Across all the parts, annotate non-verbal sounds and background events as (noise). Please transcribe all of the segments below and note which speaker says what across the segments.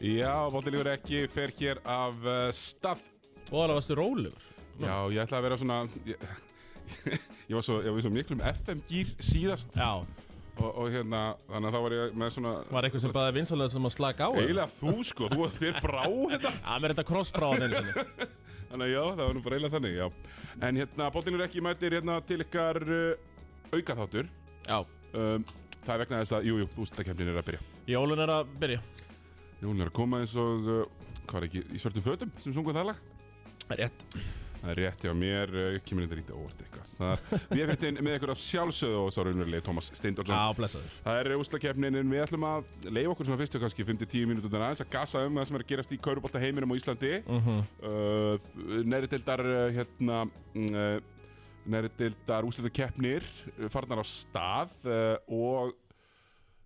Speaker 1: Já, Bóttilífur ekki fer hér af uh, staff
Speaker 2: Og alveg varstu rólegur
Speaker 1: Já, ég ætla að vera svona Ég, (laughs) ég var svo, ég var svo miklum FM-gýr síðast
Speaker 2: Já,
Speaker 1: og, og hérna, þannig að þá var ég með svona
Speaker 2: var eitthvað sem baði vinsalega sem að slaka á eða?
Speaker 1: Eiginlega þú sko, þú þér brá þetta
Speaker 2: Já, mér er þetta crossbráð einu
Speaker 1: (laughs)
Speaker 2: sinni
Speaker 1: Þannig að já, það var nú bara eiginlega þannig, já En hérna, Bóttilífur ekki mætir hérna til ykkar uh, aukaþáttur
Speaker 2: Já,
Speaker 1: um, Það er vegna þess að, jú, jú, ústakefnin er að byrja
Speaker 2: jólun er að byrja
Speaker 1: Jólun er að koma eins og, uh, hvað er ekki, í svörtum fötum sem sungu það lag
Speaker 2: Rétt
Speaker 1: Það er rétt hjá mér, uh, kemur þetta lítið óvart eitthvað. Það er, við erum hérna með ykkur að sjálfsögðu og sá raunverulegi Tómas Steindalsson.
Speaker 2: Já, blessaður
Speaker 1: Það er úslakefnin en við ætlum að leiða okkur svona fyrstu kannski 5-10 mínútur aðeins að gasa um það sem er að gerast í kaurubólta heiminum á Íslandi. Uh Neðri deildar, uh, hérna, uh, neðri deildar úslakefnir eh, farnar á stað uh, og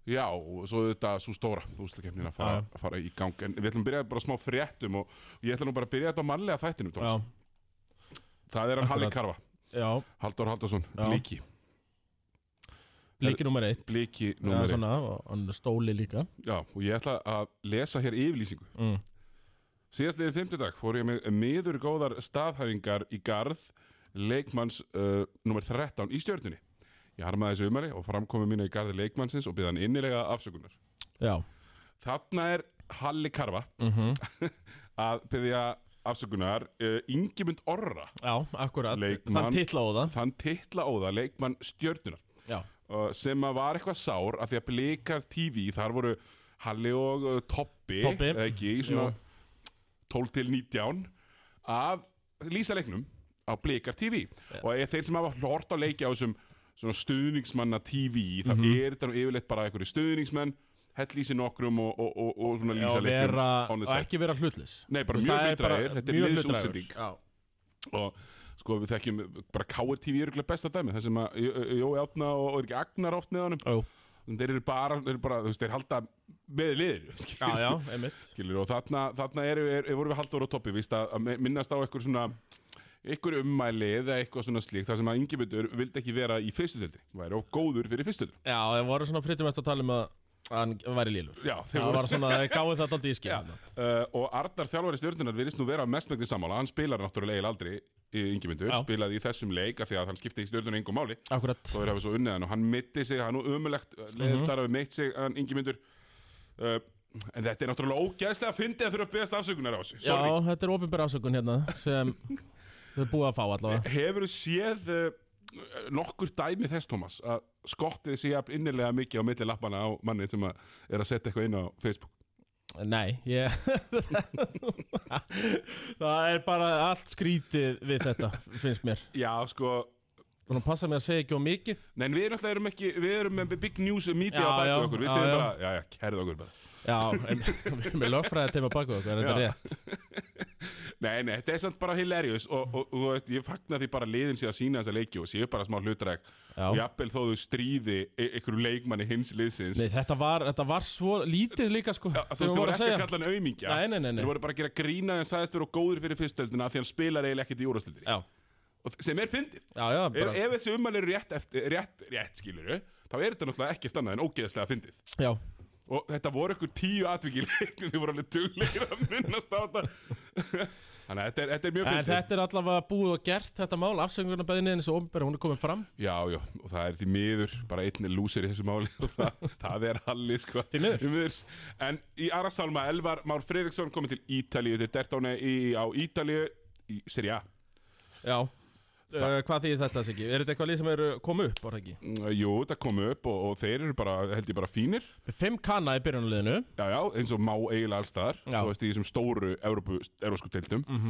Speaker 1: Já, og svo þetta svo stóra úslakefnin að fara,
Speaker 2: Já.
Speaker 1: að fara í gang En við ætlum að byrja bara á smá fréttum og ég ætlum nú bara að byrja þetta á mannlega þættinum, Tómas
Speaker 2: Já,
Speaker 1: Það er hann Halli
Speaker 2: Akkurat.
Speaker 1: Karfa,
Speaker 2: já,
Speaker 1: Halldór Halldórsson,
Speaker 2: Já.
Speaker 1: blíki
Speaker 2: bliki nummer eitt
Speaker 1: Blíki
Speaker 2: Já,
Speaker 1: nummer eitt
Speaker 2: svona, og hann er stóli líka
Speaker 1: Já, og ég ætla að lesa hér yfirlýsingu
Speaker 2: Mm.
Speaker 1: Síðast liðið fimmtudag fór ég með miður góðar staðhæfingar í garð leikmanns uh, nummer 13 í stjörnunni Ég harmaði þessu umæli og framkomi mína í garði leikmannsins og byrði hann innilega afsökunar
Speaker 2: Já,
Speaker 1: Þarna er Halli Karfa
Speaker 2: Mhm.
Speaker 1: (laughs) að byrja afsökunar uh, Ingimund Orra,
Speaker 2: já, akkurat
Speaker 1: Leikmann.
Speaker 2: Þann titla á það
Speaker 1: þann titla óða leikmann stjörnunar
Speaker 2: Já,
Speaker 1: uh, sem að var eitthvað sár af því að Blikar TV, þar voru Halli og uh, Toppi,
Speaker 2: Tobbi,
Speaker 1: eða ekki, í svona 12 til 19 að lýsa leiknum á Blikar TV og eða þeir sem hafa hlort á leiki á þessum svona stuðningsmanna TV þá er þetta nú yfirleitt bara einhverju stuðningsmenn hell í sig nokkrum og, og, og, og svona
Speaker 2: já
Speaker 1: lýsa leiknum
Speaker 2: vera,
Speaker 1: on
Speaker 2: og
Speaker 1: the side
Speaker 2: ekki vera hlutlis
Speaker 1: Nei, bara mjög hlutdrægir, þetta er liðsútsending. og sko við þekkjum bara KR TV er örugglega besta dæmi þar sem að Jó- Jói Átna og, og er ekki Agnar oft með honum
Speaker 2: Já,
Speaker 1: En þeir eru bara, þeir, eru bara, þú veist, þeir halda með liðinu (laughs)
Speaker 2: já,
Speaker 1: skilur.
Speaker 2: já, einmitt
Speaker 1: skilur, og þarna, þarna eru, er, er, voru við haldur á toppi víst, að, að minnast á eitthvað svona eitthvað ummæli eða eitthvað svona slíkt þar sem að Ingemundur vildi ekki vera í fyrstutöldi væri of góður fyrir fyrstutöldi
Speaker 2: Já, það voru svona frittumest að tala um að að hann væri lélur
Speaker 1: Já, þeir
Speaker 2: Það
Speaker 1: voru-
Speaker 2: var svona, það gáði þetta aldrei í hérna. skil
Speaker 1: uh, og Arnar þjálfari stjórnunar virðist nú vera mestmengni sammála, hann spilar náttúrulega eiginlega aldrei Ingemundur,
Speaker 2: Já.
Speaker 1: spilaði í þessum leik af því að hann skipti í stjórnuna engum máli
Speaker 2: Akkurat
Speaker 1: og þeir hafa svo unnið hann og hann mitti sig, hann er nú umulegt
Speaker 2: Mhm.
Speaker 1: leðildar hafi meitt sig, hann yngi myndur uh, en þetta er náttúrulega ógæðslega að fyndi að þurfa að beðast afsökunar á þessu
Speaker 2: Já,
Speaker 1: Sorry.
Speaker 2: þetta er opinber ásökun hérna (laughs) sem þau búið að fá allavega
Speaker 1: hefur þú séð uh, nokkur dæmi þess Thomas að skottið sé jafn innilega mikið á milli lappana á manni sem að er að setja eitthvað inn á Facebook
Speaker 2: Nei, ég (laughs) Það er bara allt skrítið við þetta, finnst mér
Speaker 1: já sko
Speaker 2: Þannig að passa mig að segja ekki á mikið
Speaker 1: Nei, en við náttúrulega erum ekki, við erum með big news um media
Speaker 2: Já,
Speaker 1: á
Speaker 2: já,
Speaker 1: bæku okkur, við
Speaker 2: já,
Speaker 1: segjum
Speaker 2: já.
Speaker 1: bara, já, já, kærið okkur bara.
Speaker 2: Já, en (laughs) við erum með lögfræði teima baku okkur, er þetta
Speaker 1: Já.
Speaker 2: rétt?
Speaker 1: Nei, nei, þetta er samt bara hilarious og, og, og þú veist, ég fagna því bara liðin sé að sína þessa leiki og séu bara smá hlutræk
Speaker 2: Já.
Speaker 1: og jafnvel þó þau stríði e- einhverju leikmanni hins liðsins
Speaker 2: Nei, þetta var, þetta var svo lítið líka sko
Speaker 1: Að Þú veist,
Speaker 2: sem
Speaker 1: þú
Speaker 2: voru
Speaker 1: voru ekki að kalla hann aumingja
Speaker 2: Nei, nei, nei, nei.
Speaker 1: Þú voru bara að gera grína en sagðist vera góður fyrir fyrstöldina því hann spilar eiginlega ekkert í úrastöldinni
Speaker 2: Já,
Speaker 1: sem er fyndið
Speaker 2: já, já,
Speaker 1: Ef,
Speaker 2: bara,
Speaker 1: ef þessi ummæli eru rétt, eftir, rétt, rétt skiluru þá er þetta náttúrulega ekkert annað en ógeðslega fyndið
Speaker 2: já
Speaker 1: og þetta voru ykkur tíu atvikileik (laughs) þið voru alveg duglegir að minnast á þetta Þannig að þetta (laughs) er, þetta er mjög
Speaker 2: En
Speaker 1: fyndið
Speaker 2: þetta er allavega búið og gert þetta mál Afsöngunarbeðinni eins og ofnbæri, hún er komin fram
Speaker 1: Já, já, og það er því miður bara einn er lúsir í þessu máli (laughs) og það, það er Halli, sko
Speaker 2: Því miður.
Speaker 1: En í Ara Salma, Elvar Már Fredriksson komið til Ítalíu, til Dertóni í, á Ítalíu í Serie A
Speaker 2: Já Uh, hvað þýðir þetta Siggi? Er þetta eitthvað lið sem eru komið upp, var það ekki?
Speaker 1: Mm, Jú, það kom upp og, og þeir eru bara, held ég bara fínir
Speaker 2: Með Fimm kanna í byrjunuleginu
Speaker 1: Já, já, eins og má eiginlega allstaðar
Speaker 2: Já. Mhm.
Speaker 1: Þú veist, í þessum stóru Evrópu, Evrósku deildum uh,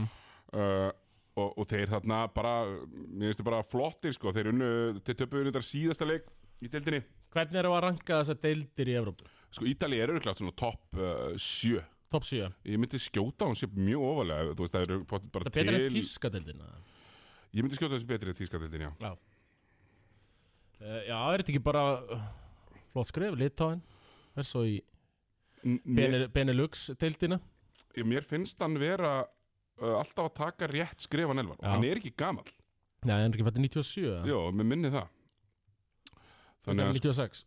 Speaker 1: og, og þeir þarna bara, mér finnst þið bara flottir, sko Þeir unnu, þeir töpuðu þetta síðasta leik í deildinni
Speaker 2: Hvernig eru að ranka þessar deildir í Evrópu?
Speaker 1: Sko, Ítalíu eru klart svona topp uh, sjö
Speaker 2: Top 7
Speaker 1: Ég myndi skjóta hún sé mjög ofalega Þú veist, það eru pottet bara
Speaker 2: Það er betur en
Speaker 1: til
Speaker 2: tíska deildina
Speaker 1: Ég myndi skjóta þessi betri en tískadeldin, já
Speaker 2: Já uh, Eh, Já, er þetta ekki bara uh, flott skrif, litáin Er svo í
Speaker 1: N- Mér,
Speaker 2: Bene- Benelux deildina
Speaker 1: mér finnst hann vera uh, alltaf að taka rétt skrifan elvan Og
Speaker 2: Já.
Speaker 1: hann er ekki gamall
Speaker 2: Já, en ekki fætti 97 eða?
Speaker 1: Jó, mér minni það Þannig að
Speaker 2: 96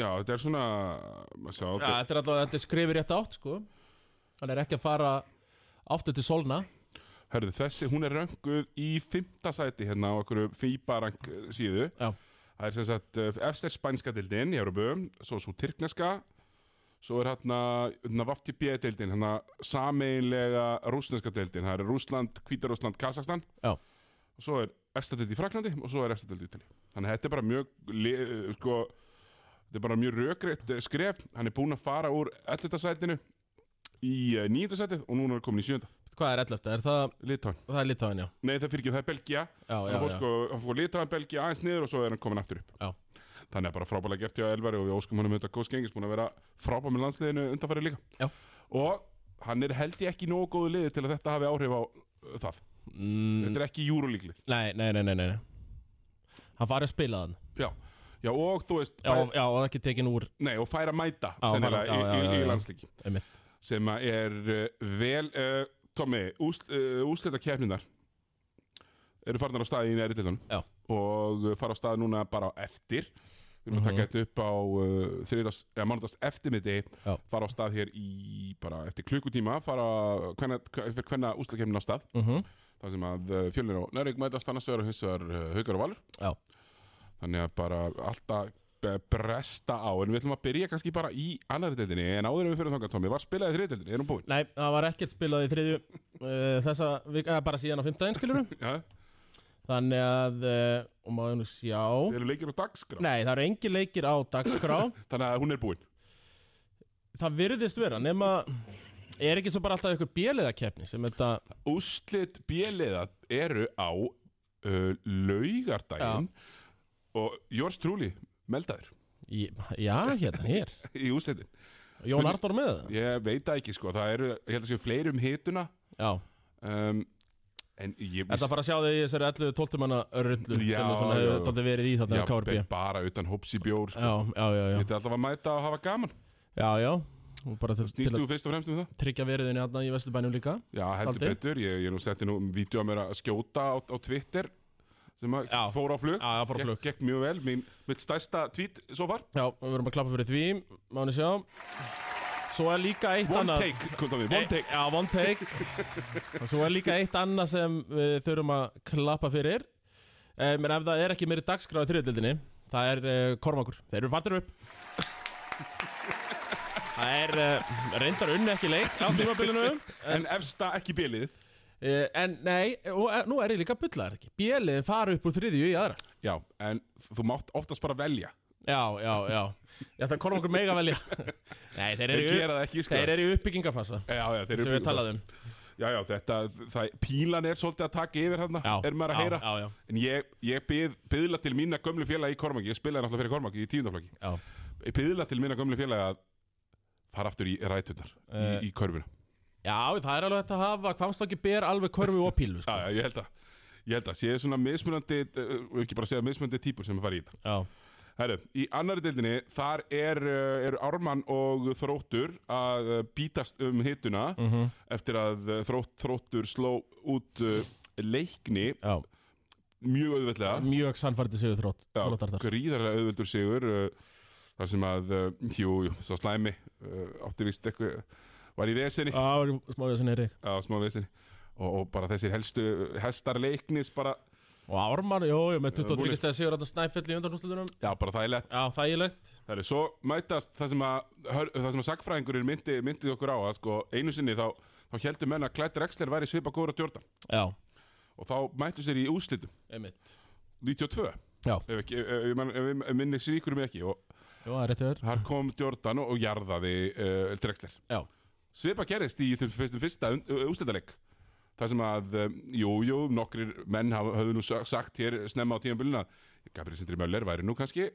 Speaker 1: Já, þetta er svona maður sjá,
Speaker 2: Já, þetta er allavega, þetta er skrifið rétt átt, sko Hann er ekki að fara áttu til Solna
Speaker 1: Hörðu, þessi, hún er rönguð í fymta sæti hérna á okkur FIBA-rank eh, síðu.
Speaker 2: Já.
Speaker 1: Það er sem sagt, eh, efst er spænska dildin í Európu, svo svo tyrkneska, svo er hérna, hérna VFTB-dildin, hérna sameinlega rúsneska dildin, það er Rúsland, Hvítarúsland, Kazakstan.
Speaker 2: Já.
Speaker 1: Og svo er efsta dild í Fraklandi og svo er efsta dild í Ítali. Þannig að þetta er bara mjög, le- eh, sko, þetta er bara mjög rökrétt eh, skref. Hann er búinn að fara úr 11. sætinu í 9. sætið og núna er hann komin í 7.
Speaker 2: Hvað er 11? Er það,
Speaker 1: Litáin.
Speaker 2: það er Litáin, já
Speaker 1: Nei, það fyrir ekki, það er Belgia
Speaker 2: Já, já,
Speaker 1: Hann fór
Speaker 2: já,
Speaker 1: sko, hann fór litaðan Belgia aðeins niður og svo er hann komin aftur upp
Speaker 2: Já.
Speaker 1: Þannig að bara frábælega gert hjá Elvari og við óskum honum auðvitað góðs gengis búin að vera frábæð með landsliðinu undanfæri líka
Speaker 2: Já.
Speaker 1: Og hann er held ég ekki í nógu góðu liði til að þetta hafi áhrif á uh, það
Speaker 2: mm,
Speaker 1: Þetta er ekki júrulíklið
Speaker 2: Nei, nei, nei, nei, nei nei. Hann farið að spila þann
Speaker 1: Já, og þú veist,
Speaker 2: Já,
Speaker 1: bæ-
Speaker 2: já, og ekki tekin úr
Speaker 1: nei, og færa mæta
Speaker 2: Já,
Speaker 1: sennilega
Speaker 2: fær að- já, já,
Speaker 1: í,
Speaker 2: já,
Speaker 1: í,
Speaker 2: já.
Speaker 1: í landslíki
Speaker 2: Einmitt.
Speaker 1: sem að er uh, vel uh, Tommi, úsl, uh, úslita keppninar eru farnar á staði í næri til
Speaker 2: Já.
Speaker 1: og uh, fara á staði núna bara á eftir við erum að taka
Speaker 2: Mhm.
Speaker 1: þetta upp á uh, þriðast, eða mánudast eftirmiti
Speaker 2: Já.
Speaker 1: fara á stað hér í, bara eftir klukkutíma fara, hvenna, hver, hvenna úsla á stað
Speaker 2: mm
Speaker 1: þar sem að uh, fjölnir og Nærik mætast annars vegar og hins vegar uh, haugar og valur
Speaker 2: Já.
Speaker 1: þannig að bara alltaf eh, bresta á, en við ætlum að byrja kannski bara í annari deildinni, en áður en við fyrir þangar Tommi, var spilaði þriði deildinni, er hún búin?
Speaker 2: Nei, það var ekkert spilað í þriðju uh, Þessa, vik, eh, bara síðan á fimmtæðin skilur
Speaker 1: Já,
Speaker 2: Þannig að, uh, og maður nú sjá
Speaker 1: það eru leikir á dagskrá,
Speaker 2: Nei, það eru engin leikir á dagskrá
Speaker 1: þannig að hún er búin
Speaker 2: Það virðist vera, nema Er ekki svo bara alltaf einhver bjöliðakeppni sem þetta
Speaker 1: Úslit bjeliða eru á uh, laugardaginn og Jórs Trúli meldaður (laughs)
Speaker 2: í, Já, hérna, hér
Speaker 1: í úslitin
Speaker 2: Jón
Speaker 1: Spurning-
Speaker 2: Arnór með það
Speaker 1: ég veit það ekki sko, það eru, ég held að séu fleiri um hituna
Speaker 2: Já,
Speaker 1: um, en ég
Speaker 2: þetta fara að sjá þig í þessari 11-12 manna rullu
Speaker 1: Já,
Speaker 2: sem er svona
Speaker 1: já, já.
Speaker 2: hefur daldið verið í þetta
Speaker 1: Já,
Speaker 2: með KRB
Speaker 1: be- bara utan hóps í bjór sko.
Speaker 2: Já, já, já, já,
Speaker 1: Þetta er alltaf að mæta og hafa gaman
Speaker 2: já, já. Og bara til, til
Speaker 1: Snýst
Speaker 2: að
Speaker 1: þú fyrst og fremst um það?
Speaker 2: tryggja veriðinni aðna í Vesturbænum líka
Speaker 1: Já, heldur
Speaker 2: Aldrei.
Speaker 1: betur Ég, ég nú setti nú vídeo að mér að skjóta á, á Twitter sem að
Speaker 2: Já.
Speaker 1: fór á flug
Speaker 2: Já, það fór að
Speaker 1: Gekk-
Speaker 2: flug
Speaker 1: Gekk mjög vel, mín, mitt stærsta tweet svo far
Speaker 2: Já, við verðum að klappa fyrir því, mánu sjá Svo er líka eitt
Speaker 1: One
Speaker 2: annað
Speaker 1: take, kom það við, one
Speaker 2: Nei,
Speaker 1: take
Speaker 2: Já, one take
Speaker 1: (laughs)
Speaker 2: Og svo er líka eitt annað sem við þurfum að klappa fyrir eh, menn ef það er ekki meiri dagskráð í þriðdildinni Það er eh, Kormakur, þeir eru fartir upp Það er eh, reyndar unni ekki leik á tímabilinu
Speaker 1: En efsta ekki bilið
Speaker 2: eh, En nei, og eh, nú er ég líka bullar ekki Bjelið fara upp úr þriðju í aðra
Speaker 1: Já, en þú mátt oftast bara velja
Speaker 2: Já, já, já Já, það er Kormakur mega velja (laughs) Nei, þeir
Speaker 1: Þeir
Speaker 2: eru, í upp,
Speaker 1: gera það ekki, sko
Speaker 2: þeir eru í uppbyggingafasa
Speaker 1: Já, já, þeir
Speaker 2: sem
Speaker 1: eru
Speaker 2: við talaðum
Speaker 1: Já, já, þetta, það, pílan er svolítið að taka yfir hérna
Speaker 2: Já,
Speaker 1: Er maður að
Speaker 2: já,
Speaker 1: heyra
Speaker 2: Já, já,
Speaker 1: En ég, ég byð, byðla til mína gömlu félagi í Kormaki Ég spilaði náttúrulega fyrir Kormaki í tíundaflaki
Speaker 2: já.
Speaker 1: Ég byðla til mína gömlu félagi að fara aftur í rætunar
Speaker 2: Eh.
Speaker 1: í, í körfuna
Speaker 2: Já, það er alveg hægt að hafa Kvamstokki ber alveg körfu og pílu sko.
Speaker 1: Já, já, ég held að Ég held að séu svona mismunandi eh, ekki bara að segja mismunandi típur sem fara í þetta
Speaker 2: já.
Speaker 1: Herru, í annari deildinni þar er, eh, eru Ármann og Þróttur að eh, bítast um hituna eftir að eh, þrótt, Þróttur sló út eh, leikni
Speaker 2: já.
Speaker 1: mjög auðveldlega
Speaker 2: Mjög sannfærdi sigur þrótt þróttar þar
Speaker 1: gríðarlega auðveldur sigur uh, þar sem að, uh, jú, jú, sá slæmi uh, átti vist eitthvað var í vesinni,
Speaker 2: Já, var í smá við þessin Eirík
Speaker 1: á smá vesinni og, og bara þessir helstu eh, hestar leiknis bara,
Speaker 2: Og Ármann, jú, jú, með
Speaker 1: Uh, Múli.
Speaker 2: 23 stæða sigur Þetta snæfell í undanúslutunum
Speaker 1: já, bara þægilegt
Speaker 2: Já, þægilegt
Speaker 1: Það er svo mætast það sem að hör, það sem að sagfræðingurinn myndi, myndi okkur á að sko, einu sinni þá, þá heldur menn að Klættir Exler væri svipa góður á Jordan
Speaker 2: Já,
Speaker 1: og þá mættu sér í úslitum
Speaker 2: einmitt
Speaker 1: 92
Speaker 2: Já.
Speaker 1: ef, ekki, ef, ef, ef, ef, ef minni svíkur mig ekki og
Speaker 2: Jú, það er rétt yfir
Speaker 1: þar kom Jordan og, og jarðaði uh, Drexler
Speaker 2: Já.
Speaker 1: Svipa gerist í þeim fyrstum fyrsta ústættaleg Það sem að, um, jú, jú, nokkrir menn haf- höfðu nú sa- sagt hér snemma á tímanbyluna Gabriel Sindri Möller væri nú kannski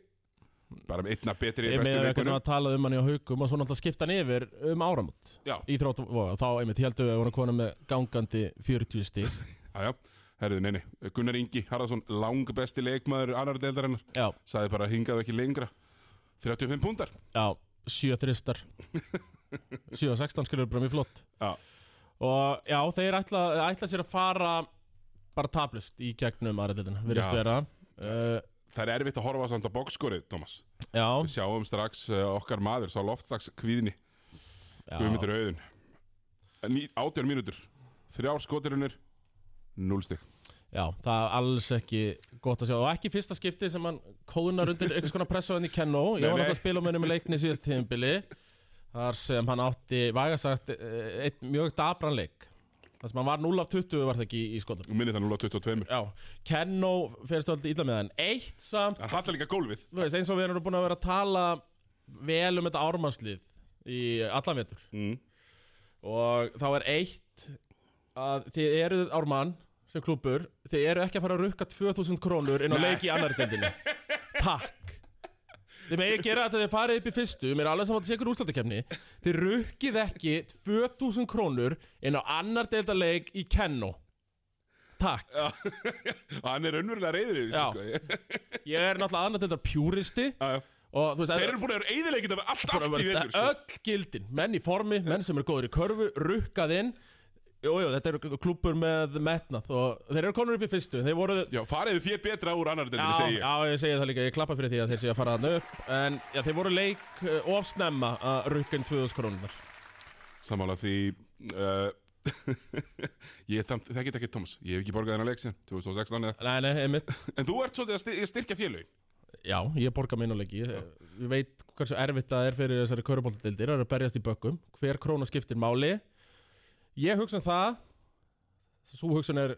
Speaker 1: bara með einna betri
Speaker 2: Ég
Speaker 1: bestu
Speaker 2: meðan eitthvað
Speaker 1: leikunum
Speaker 2: að tala um hann í haukum og svo náttúrulega skipta hann yfir um áramót
Speaker 1: Já,
Speaker 2: í þrótt og þá einmitt heldur við að voru kona með gangandi 40 stík
Speaker 1: já, já, herðu, neini Gunnar Ingi Harðarsson, langbesti leikmaður annar deildarinnar,
Speaker 2: Já,
Speaker 1: sagði bara hingaðu ekki lengra 35 púntar
Speaker 2: Já, 7
Speaker 1: (laughs)
Speaker 2: þristar 7 og 16 skilur bara mjög flott
Speaker 1: Já.
Speaker 2: Og já, þeir ætla, ætla sér að fara bara tablust í gegnum aðræðildina Virðist
Speaker 1: Já.
Speaker 2: vera uh,
Speaker 1: það er erfitt að horfa samt á bókskorið, Thomas.
Speaker 2: Já,
Speaker 1: Við sjáum strax uh, okkar maður, sá loftslags kvíðni,
Speaker 2: já.
Speaker 1: Guðmundur Auðun. Ný- 18 mínútur, þrjár skotirunir, 0 stygg.
Speaker 2: já, það er alls ekki gott að sjá og ekki fyrsta skipti sem hann kóðunar undir einhvers konar pressu hann í Kenno ég
Speaker 1: Nei,
Speaker 2: var
Speaker 1: nei.
Speaker 2: náttúrulega að spila með henni með leikni síðast tíðinbili þar sem hann átti vægasagt eitt mjög dabran leik þar sem hann var 0 af 20 var það ekki í, í skotum
Speaker 1: Minni það 0 á 22.
Speaker 2: Já, Kenno fyrst alltaf illa með hann eitt samt,
Speaker 1: Hann hattar líka gólfið.
Speaker 2: þú veist, eins og við erum búin að vera að tala vel um þetta ármannslið í allan vetur
Speaker 1: Mm.
Speaker 2: og þá er eitt að þið eruð ármann sem klúpur, þið eru ekki að fara að rukka 2000 krónur inn á
Speaker 1: Nei.
Speaker 2: leik í annar deildinni takk þið megið gera þetta að þið farið upp í fyrstu mér er alveg saman að sé ykkur úrslættakefni þið rukkið ekki 2000 krónur inn á annar deildaleik í Kenno takk,
Speaker 1: (laughs) Hann er raunverulega reyður í þessu,
Speaker 2: Já.
Speaker 1: sko.
Speaker 2: ég er náttúrulega annar deildar pjúristi
Speaker 1: Já, já.
Speaker 2: og þú veist
Speaker 1: Þeir eru búin að vera eðilegget af allt
Speaker 2: bara
Speaker 1: allt í
Speaker 2: verið
Speaker 1: vetur, sko.
Speaker 2: öll gildin menn í formi, menn sem eru góður í körfu rukkað inn jújú, jú, þetta eru klúpur með metnað og þeir eru konur upp í fyrstu þeir voru
Speaker 1: Já, fariðu þér betra úr annar
Speaker 2: Já,
Speaker 1: deildinni, segi ég.
Speaker 2: já, ég segi það líka, ég klappa fyrir því að þeir séu að fara þarna upp En já, þeir voru leik uh, of snemma að rukka inn 2000 krónunar
Speaker 1: Samála því... Uh, (laughs) ég þamt, það get ekki Thomas ég hef ekki borgað þennan leik sem 2016 eða
Speaker 2: Nei, nei, einmitt
Speaker 1: en þú ert svolítið að styr- styrkja félögin
Speaker 2: Já, ég borga mín á leiki ég, ég veit hversu erfitt það er fyrir þessari köruboltadeildir Það er að berjast í bökkum Hver krónu skiptir máli Ég hugsa um það Sú hugsun er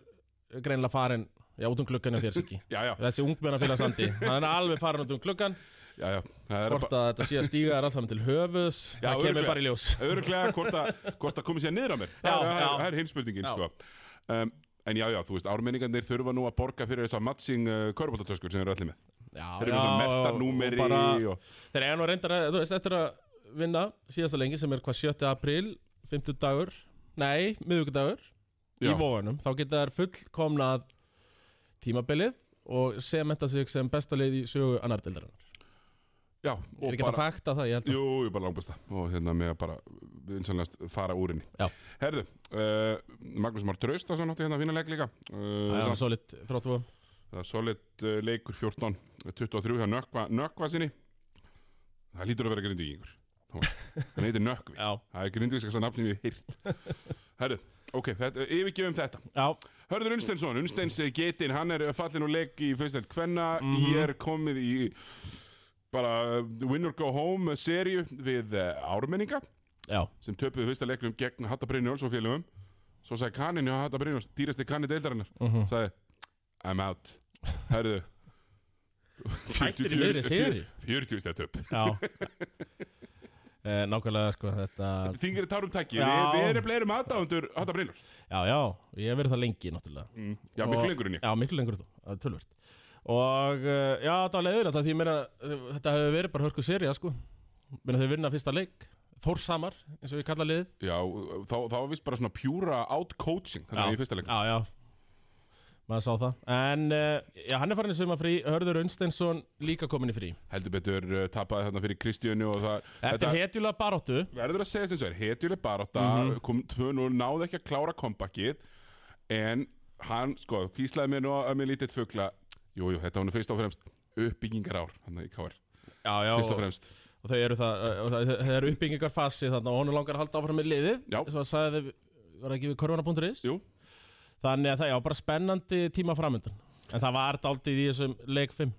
Speaker 2: greinilega farin Já, út um gluggan á þér, Siggi
Speaker 1: já já,
Speaker 2: Þessi ungmennafélag Sandi Hann er alveg farin út um gluggan
Speaker 1: já, já. það er
Speaker 2: Hvort að þetta sé að stíga er allt saman til höfus
Speaker 1: Já,
Speaker 2: Það kemur
Speaker 1: örugglega.
Speaker 2: bara í ljós
Speaker 1: Öruglega hvort, að- hvort að komið sér niður á mér Það
Speaker 2: Já,
Speaker 1: er- það
Speaker 2: já.
Speaker 1: er- það er hinspurningin
Speaker 2: Já.
Speaker 1: sko. um, En já, já, þú veist, ármenningarnir þurfa nú að borga fyrir þessar matching uh, körbóttatöskur sem þeir eru allir með
Speaker 2: Já,
Speaker 1: Þeir eru með svona merta númeri
Speaker 2: og bara-
Speaker 1: og...
Speaker 2: Þeir eru nú reyndar að, þú veist, eftir að vinna síðasta lengi sem er hvað 7. apríl, 50 dagur, nei, miðvíkudagur í
Speaker 1: Já.
Speaker 2: vóðunum, þá geta þær fullkomnað tímabilið og sementa sig sem besta leið í sögu annardeldarinnar.
Speaker 1: Já,
Speaker 2: Er
Speaker 1: og
Speaker 2: ekki þetta
Speaker 1: bara,
Speaker 2: fægt að það, ég held að.
Speaker 1: jú, jú, bara langbæsta Og hérna með að bara, einsannlega, fara úr henni
Speaker 2: Já.
Speaker 1: Herðu, uh, Magnús Már Traustason átti hérna að vinna leik líka
Speaker 2: Það
Speaker 1: uh,
Speaker 2: er
Speaker 1: samt-
Speaker 2: alveg svolít þróttu
Speaker 1: Það er solid uh, leikur eh, 14 23 hjá Nökva, Nökva sinni Það lítur að vera grindvíkingur Thomas. Hann heitir Nökvi
Speaker 2: Já,
Speaker 1: Það er grindvíkskasta nafnum við hýrt Herðu, ok, þetta, yfirgefum þetta
Speaker 2: já,
Speaker 1: Hörður Unnsteinsson, Unnsteins getinn, hann er fallin og leik í fyrstælt Kvenna, mm ég er komið í bara eh, Win or Go Home serju við eh, ármenninga
Speaker 2: já,
Speaker 1: sem töpuðu fyrsta leiknum gegn Hatta Brynjóls og félögum svo sagði kanninu að Hatta Brynjóls, dýrasti kanni deildarinnar sagði, I'm out Herðu
Speaker 2: Hættir í miðri seríu.
Speaker 1: 40 stætt upp
Speaker 2: já. (laughs) Eh, Nákvæmlega, sko, þetta,
Speaker 1: Þingir tárum takki,
Speaker 2: Já.
Speaker 1: við, við erum bleirum aðdáðundur Hatta Brynjóls,
Speaker 2: já, já, ég hef verið það lengi, náttúrulega.
Speaker 1: já,
Speaker 2: Og-
Speaker 1: miklu lengur en ég
Speaker 2: Já, miklu lengur en þú, það er tölvöld Og uh, já, það var leiðir þetta Því ég meina, uh, þetta hefur verið bara hörku serja sko. Meina þau vinna fyrsta leik Þórsamar, eins og við kalla liðið
Speaker 1: Já, þá, þá var vist bara svona pjúra out-coaching þannig í fyrsta leiknum
Speaker 2: Já, já Maður sá það En uh, já, hann er farin í sumafrí Hörður Unsteinsson líka komin í frí
Speaker 1: heldur betur uh, tapaði þarna fyrir Kristjánu og það
Speaker 2: Eftir
Speaker 1: þetta
Speaker 2: þetta... hetjulega baróttu
Speaker 1: verður að segja sem svo er hetjuleg barátta
Speaker 2: Mhm.
Speaker 1: kom 2-0, náði ekki að klára kompakið en hann sko kýslaði mér nú að mér lítið fugla jújú, jú, þetta var nú fyrst og fremst uppbyggingarár hann í KR,
Speaker 2: Já, já,
Speaker 1: fyrst og
Speaker 2: og,
Speaker 1: fremst
Speaker 2: og þau eru það, uh, og það, það eru uppbyggingarfasi þarna Og honum langar að halda áfram með liðið
Speaker 1: Já.
Speaker 2: Svo að sagði þau, var það ekki við korfana.is
Speaker 1: jú,
Speaker 2: Þannig að það já, bara spennandi tíma framöndan En það var daldið í þessum leik 5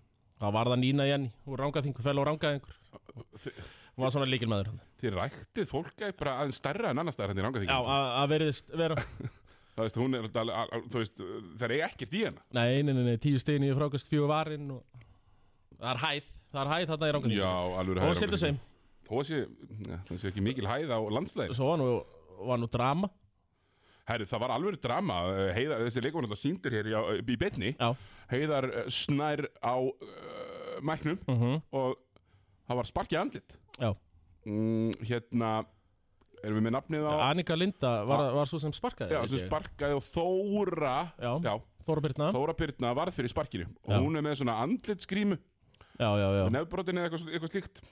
Speaker 2: Það var það Nína Jenny Hún rangaðingur, fel og rangaðingur Hún var svona líkilmaður hann
Speaker 1: þið ræktið fólk er bara aðeins stærra en annars stærra en í ranga
Speaker 2: Já,
Speaker 1: þingi
Speaker 2: að að veriðist vera
Speaker 1: það veist, hún er, þetta alveg- al- al- þú veist, það er ekkert í hana
Speaker 2: Nei, nei, nei, nei tíu stegin í frákast fjögur varinn og... Það er hæð, það er hæð þarna í rangaðingur
Speaker 1: já, alveg
Speaker 2: Og hún sildur
Speaker 1: sem
Speaker 2: sem,
Speaker 1: þó að sé, ja, það sé ekki mikil hæð á landslæði
Speaker 2: svo var nú, var nú drama
Speaker 1: Herri, það var alveg drama, eh, Heiðar, þessi leikur var náttúrulega síndur hér í, í betni
Speaker 2: Já,
Speaker 1: Heiðar eh, snær á uh, mæknum og það var sparkið andlit
Speaker 2: já
Speaker 1: mm, hérna erum við með nafnið á
Speaker 2: Annika Linda var, var svo sem sparkaði
Speaker 1: já,
Speaker 2: held
Speaker 1: sem
Speaker 2: ég.
Speaker 1: sparkaði og Þóra
Speaker 2: Já, Þóra Birna
Speaker 1: Þóra Pyrna varð fyrir sparkinu og
Speaker 2: Já.
Speaker 1: hún er með svona andlitsgrímu
Speaker 2: Já, já, já
Speaker 1: nefbrotin eða eitthvað, sl- eitthvað slíkt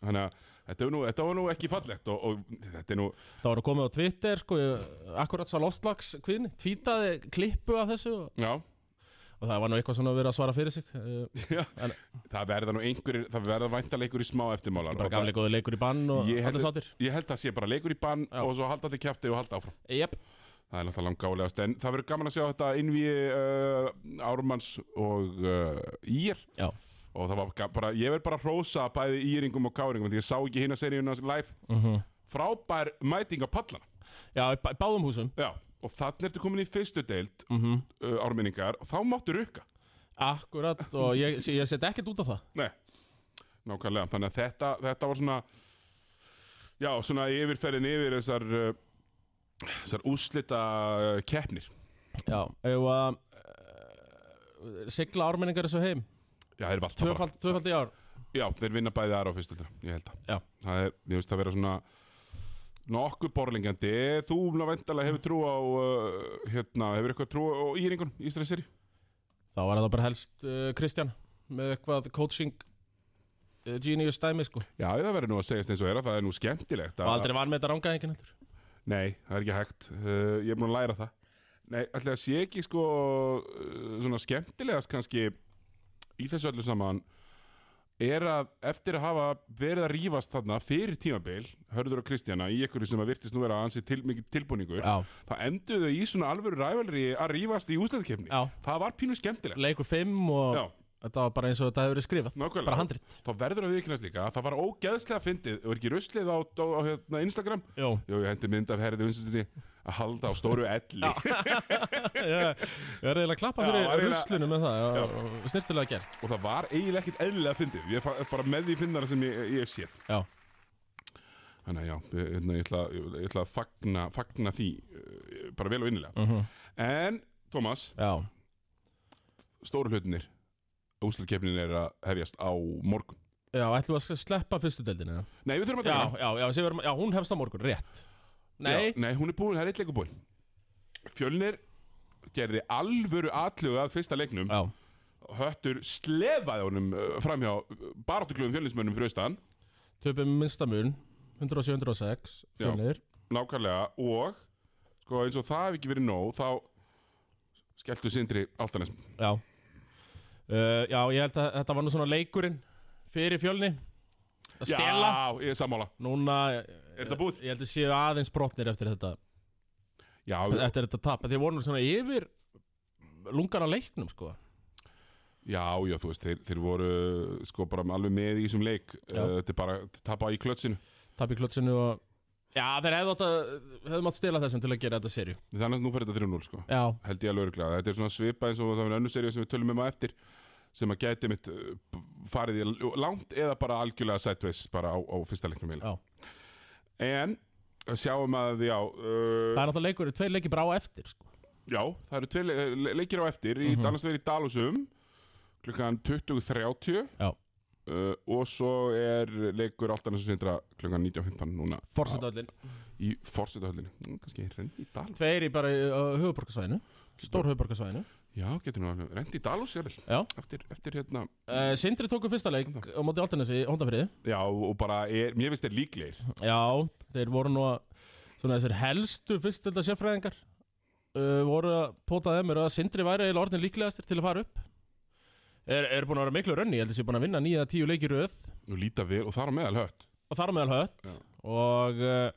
Speaker 1: þannig að þetta var nú, þetta var nú ekki fallegt og, og þetta er nú
Speaker 2: Það var að komið á Twitter, sko ég- Akkurat svo lofslags kvinni Tvítaði klippu af þessu og
Speaker 1: já,
Speaker 2: og það var nú eitthvað svona að vera að svara fyrir sig uh,
Speaker 1: Það verða nú einhverjir, það verða væntalega einhverjir smá eftirmálar
Speaker 2: bara
Speaker 1: og það-
Speaker 2: gamlega góði leikur í bann og
Speaker 1: Ég
Speaker 2: allir
Speaker 1: hefði-
Speaker 2: sáttir
Speaker 1: Ég held að sé bara leikur í bann
Speaker 2: Já.
Speaker 1: og svo halda þetta kjæfti og halda áfram
Speaker 2: Jep,
Speaker 1: Það er náttúrulega langálegast en það verður gaman að sjá þetta innví uh, Ármanns og uh, Ír
Speaker 2: Já.
Speaker 1: og það var ga- bara, ég verð bara að hrósa bæði Íringum og Káringum því ég sá ekki hinn að seríuna live frábær mæting á pallana
Speaker 2: já, í bá- báðum húsum
Speaker 1: Já. og þannig ertu komin í fyrstu deild
Speaker 2: mm
Speaker 1: uh, árminningar og þá máttu rukka
Speaker 2: Akkurat, og ég, ég set ekkert út á það
Speaker 1: Nei, nákvæmlega Þannig að þetta, þetta var svona Já, svona yfirferðin yfir þessar uh, þessar úslita uh, keppnir
Speaker 2: Já, ef að uh, sigla ármenningar þessu heim
Speaker 1: Já, þeir valda bara
Speaker 2: Tvöfald, tvöfald í ár
Speaker 1: Já, þeir vinna bæði aðra á fyrstöldur, ég held að
Speaker 2: Já.
Speaker 1: Það er, ég veist að vera svona nokkuð borlingjandi Þú ná vendalega hefur trú á uh, hérna, hefur eitthvað trú á íringun í stresseri
Speaker 2: Þá var það bara helst uh, Kristján með eitthvað coaching uh, genius dæmi sko
Speaker 1: Já, það verður nú að segjast eins og er að það er nú skemmtilegt
Speaker 2: og
Speaker 1: að-
Speaker 2: aldrei var með þetta rangaðingin heldur
Speaker 1: Nei, það er ekki hægt uh, Ég er búin að læra það Nei, ætli að sé ekki sko uh, svona skemmtilegast kannski í þessu öllu saman er að eftir að hafa verið að rífast þarna fyrir tímabil Hörður og Kristjana í einhverju sem að virtist nú vera ansi til, mikið tilbúningur
Speaker 2: Já,
Speaker 1: þá enduðu þau í svona alvöru rævalri að rífast í úsleðkefni
Speaker 2: já,
Speaker 1: Það var pínu skemmtilegt
Speaker 2: leikur 5 og
Speaker 1: Já,
Speaker 2: þetta var bara eins og þetta hefur verið skrifað
Speaker 1: nákvæmlega
Speaker 2: Bara handrit
Speaker 1: Þá verður að viðkynast líka að það var ógeðslega fyndið og er ekki ruslið á, á, á hérna, Instagram (laughs)
Speaker 2: Jó,
Speaker 1: Jú, ég hendi mynd af herrið unnstinni að halda á stóru elli
Speaker 2: ég ég er reyðilega að klappa
Speaker 1: Já,
Speaker 2: fyrir
Speaker 1: var eiginlega-
Speaker 2: ruslunum með það já, og snirtilega gert
Speaker 1: (laughs) og það var eiginlega ekkert eðlilega fyndið ég er bara með því fyndara sem ég, ég hef séð
Speaker 2: Já,
Speaker 1: þannig að já, ég, hérna, ég, ætla, ég, ég ætla að fagna, fagna því eh, bara vel og innilega
Speaker 2: mm
Speaker 1: en Tómas,
Speaker 2: já,
Speaker 1: stóru hlutinir úslutkefnin er að hefjast á morgun
Speaker 2: já, ætlum við að sleppa fyrstu deildinu Já,
Speaker 1: nei, við þurfum að
Speaker 2: já,
Speaker 1: taka hana.
Speaker 2: já, já, sem við erum- já, hún hefst á morgun, rétt Nei,
Speaker 1: Já, nei, hún er búin, það er eitt leikur búin fjölnir gerði alvöru atlögu að fyrsta leiknum
Speaker 2: já,
Speaker 1: höttur slefaði honum eh, framhjá baráttuklöfum fjölnismönnum fyrir austan
Speaker 2: töpum minnstamun 107-106,
Speaker 1: Já.
Speaker 2: fjölnir
Speaker 1: nákvæmlega og sko eins og það hef ekki verið nóg þá skelltu sindri Altanes
Speaker 2: Já uh, Já, ég held að þetta var nú svona leikurinn fyrir fjölni að stela
Speaker 1: Já, ég er sammála
Speaker 2: Núna
Speaker 1: Er þetta búið?
Speaker 2: Ég held að séu aðeins brotnir eftir þetta
Speaker 1: Já,
Speaker 2: eftir þetta tap Þeir voru nú svona yfir lungar að leiknum sko
Speaker 1: já, já, þú veist, þeir, þeir voru sko bara alveg með í þessum leik
Speaker 2: Já.
Speaker 1: uh, Þetta er bara tapa í klötsinu
Speaker 2: Tap í klötsinu og Já, þeir hefðu átt að hefðu mátt stela þessum til að gera þetta serju
Speaker 1: Þannig að nú fer þetta 3-0 sko
Speaker 2: Já,
Speaker 1: Held ég alveg örglega, þetta er svona svipa eins og það er önnur serið sem við tölum um að eftir sem að gæti mitt eh, farið í l- langt eða bara algjörlega sideways bara á, á fyrsta leiknum eiginlega. En sjáum að, já uh,
Speaker 2: það er náttúrulega leikur Tveir leikir bara á eftir sko
Speaker 1: Já, það eru tveir le- le leikir á eftir mm
Speaker 2: Mhm.
Speaker 1: -hmm. Annars verið í Dalusum klukkan 20.30
Speaker 2: Já.
Speaker 1: uh, og svo er leikur alltaf næstu sindra klukkan 19.15 núna
Speaker 2: Forsetallin
Speaker 1: í forsetahöllinni Mm, kannski renn í Dalus
Speaker 2: Tveir í bara uh, höfuborgarsvæðinu Stór höfuborgarsvæðinu
Speaker 1: Já, getur nú alveg renn í Dalus jafnvel
Speaker 2: Já.
Speaker 1: eftir, eftir hérna
Speaker 2: uh, Sindri tóku fyrsta leik á móti Altanesi, Hóndafriði
Speaker 1: Já, og bara er, mér finnst þeir líklegir
Speaker 2: Já, þeir voru nú að svona þessir helstu fyrstölda sérfræðingar uh, voru að póta þeim er að Sindri væri eða orðin líklegastir til að fara upp er, er búin að vera miklu rönni, ég held að sé búin að vinna nýja tíu leiki í röð
Speaker 1: og líta vel og það er á meðal hött
Speaker 2: og þar á meðal hött
Speaker 1: Já.
Speaker 2: og uh,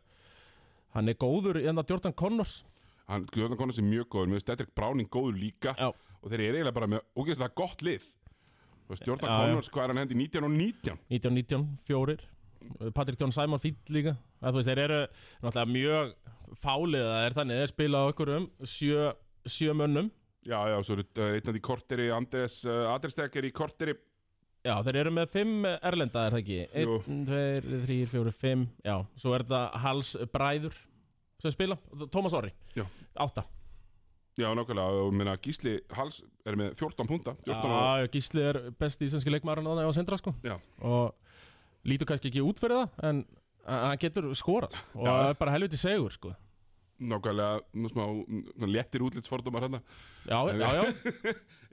Speaker 2: hann er góður en að Jordan Connors
Speaker 1: Hann, Guðjóðan Konars er mjög góður, mér finnst Dedrick Browning góður líka
Speaker 2: Já.
Speaker 1: og þeir eru eiginlega bara með ógeðslega gott lið Þú veist, Jordan
Speaker 2: Já, já.
Speaker 1: Connors, hvað er hann hendi 19 og 19?
Speaker 2: 19-19, fjórir Uh, Patrick John Simon fýtt líka að, þú veist, þeir eru náttúrulega mjög fálið það er þannig, þeir spila á okkur um sjö, sjö mönnum
Speaker 1: Já, já, svo eru uh, einn af því korteri, Andres uh, Adrestek er í korteri
Speaker 2: Já, þeir eru með fimm erlenda, er það ekki?
Speaker 1: Jú.
Speaker 2: Einn, tveir, þrýr, fjóru, fimm Já, svo er þetta Hals Bræður sem spila, Tómas Orri
Speaker 1: Já.
Speaker 2: Átta
Speaker 1: Já, nákvæmlega, og minna Gísli Hals er með 14 punta 14 og...
Speaker 2: Já, Gísli er besti íslenski leikmaðurinn þannig á sendra sko
Speaker 1: Já.
Speaker 2: Og lítur kannski ekki út fyrir það en a- hann getur skorað og
Speaker 1: Já.
Speaker 2: það er bara helviti segur sko
Speaker 1: nákvæmlega nú smá mm, svona léttir útlitsfordómar hann
Speaker 2: Já, já, já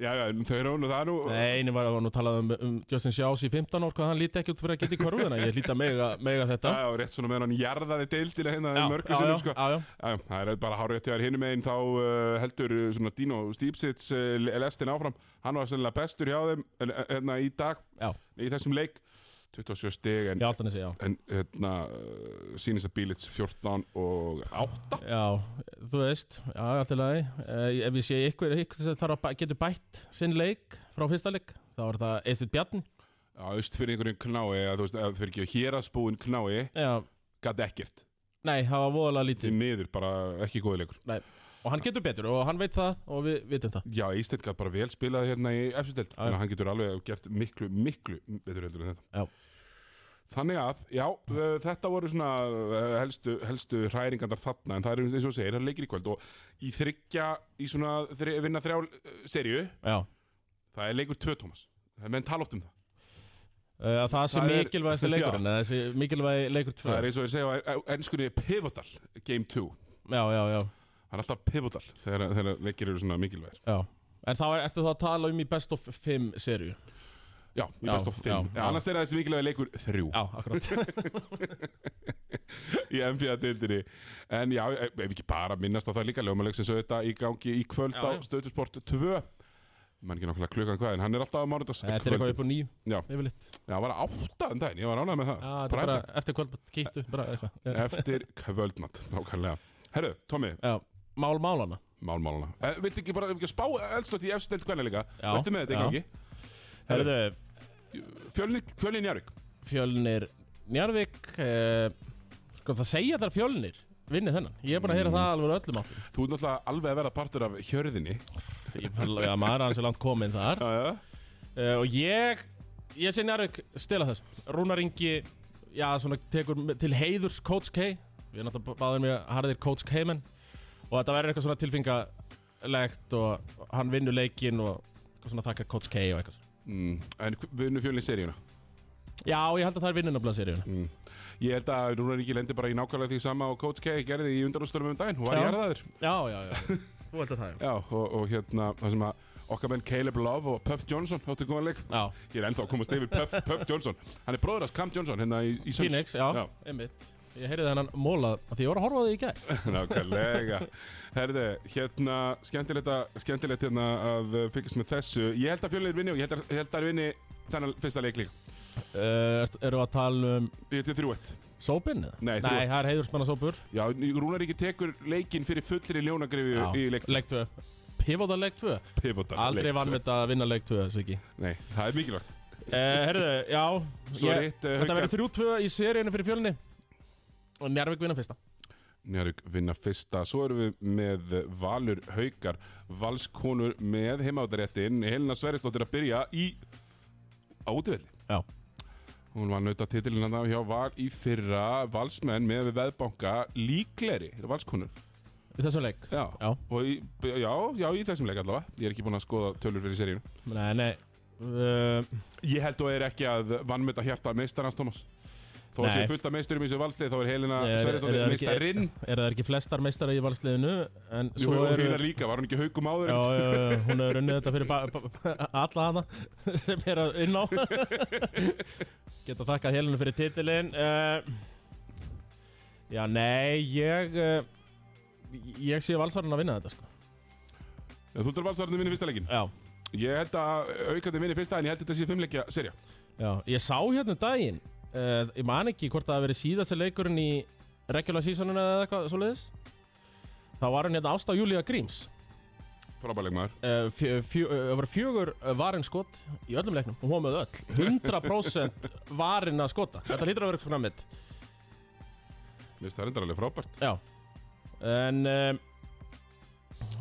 Speaker 1: Já, já, en þau eru hún og það er nú
Speaker 2: Nei, einu var að nú talað um, um Justin Sjás í 15 ár hvað hann líti ekki út fyrir að geta í körfuna Ég hlýta mega, mega þetta
Speaker 1: Já, já, rétt svona meðan hann jarðaði deildina hérna í mörgu
Speaker 2: já,
Speaker 1: sinnum,
Speaker 2: já,
Speaker 1: sko.
Speaker 2: já, já.
Speaker 1: Já, já, það er bara hárið til þær hinum einn þá uh, heldur uh, svona Dino Stipsits uh, lestin áfram, hann var sennilega bestur hjá þeim en, en, hérna í dag,
Speaker 2: Já.
Speaker 1: í þessum leik 27 stig en,
Speaker 2: Ég allt hann að segja,
Speaker 1: en hérna uh, sínins að bílits 14 og 8
Speaker 2: já Já, þú veist, já, allt í lagi uh, Ef ég sé ykkur, ykkur sem þarf að bæ- getur bætt sinn leik frá fyrsta leik þá er það Eistid Bjarni
Speaker 1: Já, aust fyrir einhverjum knái, eða þú veist, eða fyrir ekki héraðsbúin knái,
Speaker 2: Já,
Speaker 1: gæti ekkert
Speaker 2: nei, það var voðalega
Speaker 1: því
Speaker 2: lítið
Speaker 1: miður, bara ekki góði leikur
Speaker 2: nei. Og hann getur betur og hann veit það og við vitum það
Speaker 1: Já, Ísteinn gæti bara vel spilað hérna í F-sutelt,
Speaker 2: Já, já.
Speaker 1: þannig að hann getur alveg gert miklu, miklu betur heldur en þetta
Speaker 2: Já.
Speaker 1: Þannig að, já, uh, þetta voru svona uh, helstu, helstu hræringandar þarna en það er eins og þú segir, það er leikir í kvöld og í þryggja, í svona þri, vinna þrjá uh, serju,
Speaker 2: Já
Speaker 1: það er leikur tvö, Tómas Það er menn tala oft um það
Speaker 2: Uh, það sé
Speaker 1: Það er-
Speaker 2: mikilvægast
Speaker 1: (laughs) Já.
Speaker 2: leikurinn eða þessi mikilvægi leikur 2
Speaker 1: Það er eins og þeir segja á e, á enskunni pivotal, game 2
Speaker 2: Já, já, já,
Speaker 1: Það er alltaf pivotal þegar, þegar leikir eru svona mikilvægir
Speaker 2: já En þá er, ertu þá að tala um í best of 5 serju
Speaker 1: Já, í
Speaker 2: Já,
Speaker 1: best of 5
Speaker 2: já, já.
Speaker 1: Annars er það þessi mikilvægir leikur þrjú
Speaker 2: Já, akkurat
Speaker 1: (laughs)
Speaker 2: Eh,
Speaker 1: í NBA-dildinni En já, e, ef ef ekki bara minnast á það líka Ljómalegsins auðvitað í gangi í kvöld
Speaker 2: Já,
Speaker 1: á
Speaker 2: já.
Speaker 1: Stöðtusport 2 Man ekki nákvæmlega klukkan hvað en hann er alltaf á mánudags
Speaker 2: Þetta er eitthvað upp á nýju
Speaker 1: Já.
Speaker 2: Yfirleitt Já,
Speaker 1: Já, hann var átta en daginn, ég var ánægð með það
Speaker 2: þetta er
Speaker 1: Bara Eh.
Speaker 2: bara eftir kvöldmatt Kýttu, bara eitthvað Eh, Já.
Speaker 1: Eftir kvöldmatt, nákvæmlega Herru, Tommi,
Speaker 2: Já, mál málana
Speaker 1: málmálana eh, Viltu ekki bara ef ekki spá eldstótt í efstild hvernig líka?
Speaker 2: Já,
Speaker 1: Ertu með þetta
Speaker 2: já.
Speaker 1: ekki?
Speaker 2: Herðu,
Speaker 1: Fjölni, fjölni Njárvík
Speaker 2: fjölnir Njarvik eh, Sko það segja allar fjölnir Vinni þennan Ég er bara að heyra það alveg úr öllum áttum
Speaker 1: Þú ert náttúrulega alveg að vera partur af hjörðinni
Speaker 2: Ég bara- Já, maður er hans er langt kominn þar
Speaker 1: Já,
Speaker 2: uh, Og ég Ég sé Njarvik stela þess Rúnar Ingi Já, svona tekur til heiðurs Coach K Við náttúrulega báðum við harðir Coach K menn Og þetta verður eitthvað svona tilfingalegt Og hann vinnur leikinn og eitthvað svona þakkar Coach K og eitthvað svona
Speaker 1: Mm, en vinnu fjölni seríuna
Speaker 2: Já, ég held að það er vinnun að blaða seríuna
Speaker 1: mm. Ég held að Rúnar Ríki lendi bara í nákvæmlega því sama og Coach K gerði í undanústunum um daginn Hún var
Speaker 2: Já.
Speaker 1: jarðaður
Speaker 2: Já, já, já (laughs) Þú held að það er
Speaker 1: Já, og, og hérna, það sem að okkar menn Caleb Love og Puff Johnson áttu góðan leik
Speaker 2: Já,
Speaker 1: Ég er ennþá að komast yfir Puff, Puff Johnson Hann er bróður hans Cam Johnson hérna í, í Suns.
Speaker 2: Phoenix, já,
Speaker 1: Já. (laughs)
Speaker 2: einmitt Ég heyrði þennan mólað af Því ég var að horfa á því í gær
Speaker 1: Nákvæmlega Herði, hérna, skemmtilegt, að- skemmtilegt hérna að uh, fylgjast með þessu Ég held að fjölnir vinni og ég held að, ég held að vinni þennan fyrsta leik líka
Speaker 2: uh, er- Eru að tala um
Speaker 1: Ég til 3-1
Speaker 2: sópinn? eða?
Speaker 1: Nei,
Speaker 2: Nei,
Speaker 1: þrjú-
Speaker 2: það er heiðursmanna sópur
Speaker 1: Já, Rúnar Ríki tekur leikin fyrir fullri ljónagrifju í leik
Speaker 2: leik 2 Pivota leik 2
Speaker 1: Pivotal
Speaker 2: Aldrei
Speaker 1: leik tvö.
Speaker 2: vann þetta að vinna leik 2, þessu ekki
Speaker 1: Nei, það er mikilvægt
Speaker 2: uh, Herðu, já
Speaker 1: Svo er hitt
Speaker 2: Þetta
Speaker 1: uh,
Speaker 2: verður 3-2 í seríunni fyrir fjölni Og Njarvík vinna fyrsta
Speaker 1: Njárvík vinna fyrsta Svo erum við með uh, Valur Haukar Valskonur með heimáttaréttin Helena Sverrislóttir að byrja í Átivelli
Speaker 2: Já.
Speaker 1: Hún var nauta titilinn hann hjá Val í fyrra Valsmenn með við veðbanka Líkleri, þetta er Valskonur
Speaker 2: Í þessum leik
Speaker 1: já.
Speaker 2: Já,
Speaker 1: Og í, já, já, í þessum leik allavega Ég er ekki búin að skoða tölur fyrir seríun
Speaker 2: nei, nei uh,
Speaker 1: Ég held og er ekki að vannmynda hjarta meistarans Thomas Þó að
Speaker 2: Nei.
Speaker 1: sé fullt af meisturum í þessu valslið Þá er Helena
Speaker 2: Nei, er- er-
Speaker 1: Sverrislóttir
Speaker 2: er-
Speaker 1: meistarinn
Speaker 2: Er það ekki flestar meistara í valsliðinu En
Speaker 1: Jú,
Speaker 2: svo
Speaker 1: og
Speaker 2: eru
Speaker 1: hinar líka, var hún ekki haukum áður
Speaker 2: Já,
Speaker 1: einmitt?
Speaker 2: já, já, hún hefur unnið þetta fyrir ba- ba- ba- alla hana (laughs) sem er að unná (laughs) Geta þakkað helinu fyrir titilin uh, Já, nei, ég uh, ég sé valsarinn að vinna þetta sko.
Speaker 1: Já, Þú ert valsarinn að vinna fyrsta leikin
Speaker 2: Já,
Speaker 1: Ég held að aukandi vinni fyrsta en ég held þetta sé fimmleikja serja
Speaker 2: já, ég sá hérna um daginn uh, ég man ekki hvort það hafi verið síðast leikurinn í regular seasonuna eða eitthvað svoleiðis þá var hann hérna Ásta Júlía Gríms
Speaker 1: Frábæleik maður
Speaker 2: Eh, fjö- fjö- eh, það voru fjögur eh, varin skot í öllum leiknum, hún var með öll 100% varin að skota þetta hlýtur að vera eitthvað mitt
Speaker 1: Mér finnst það reyndar alveg frábært
Speaker 2: já en um,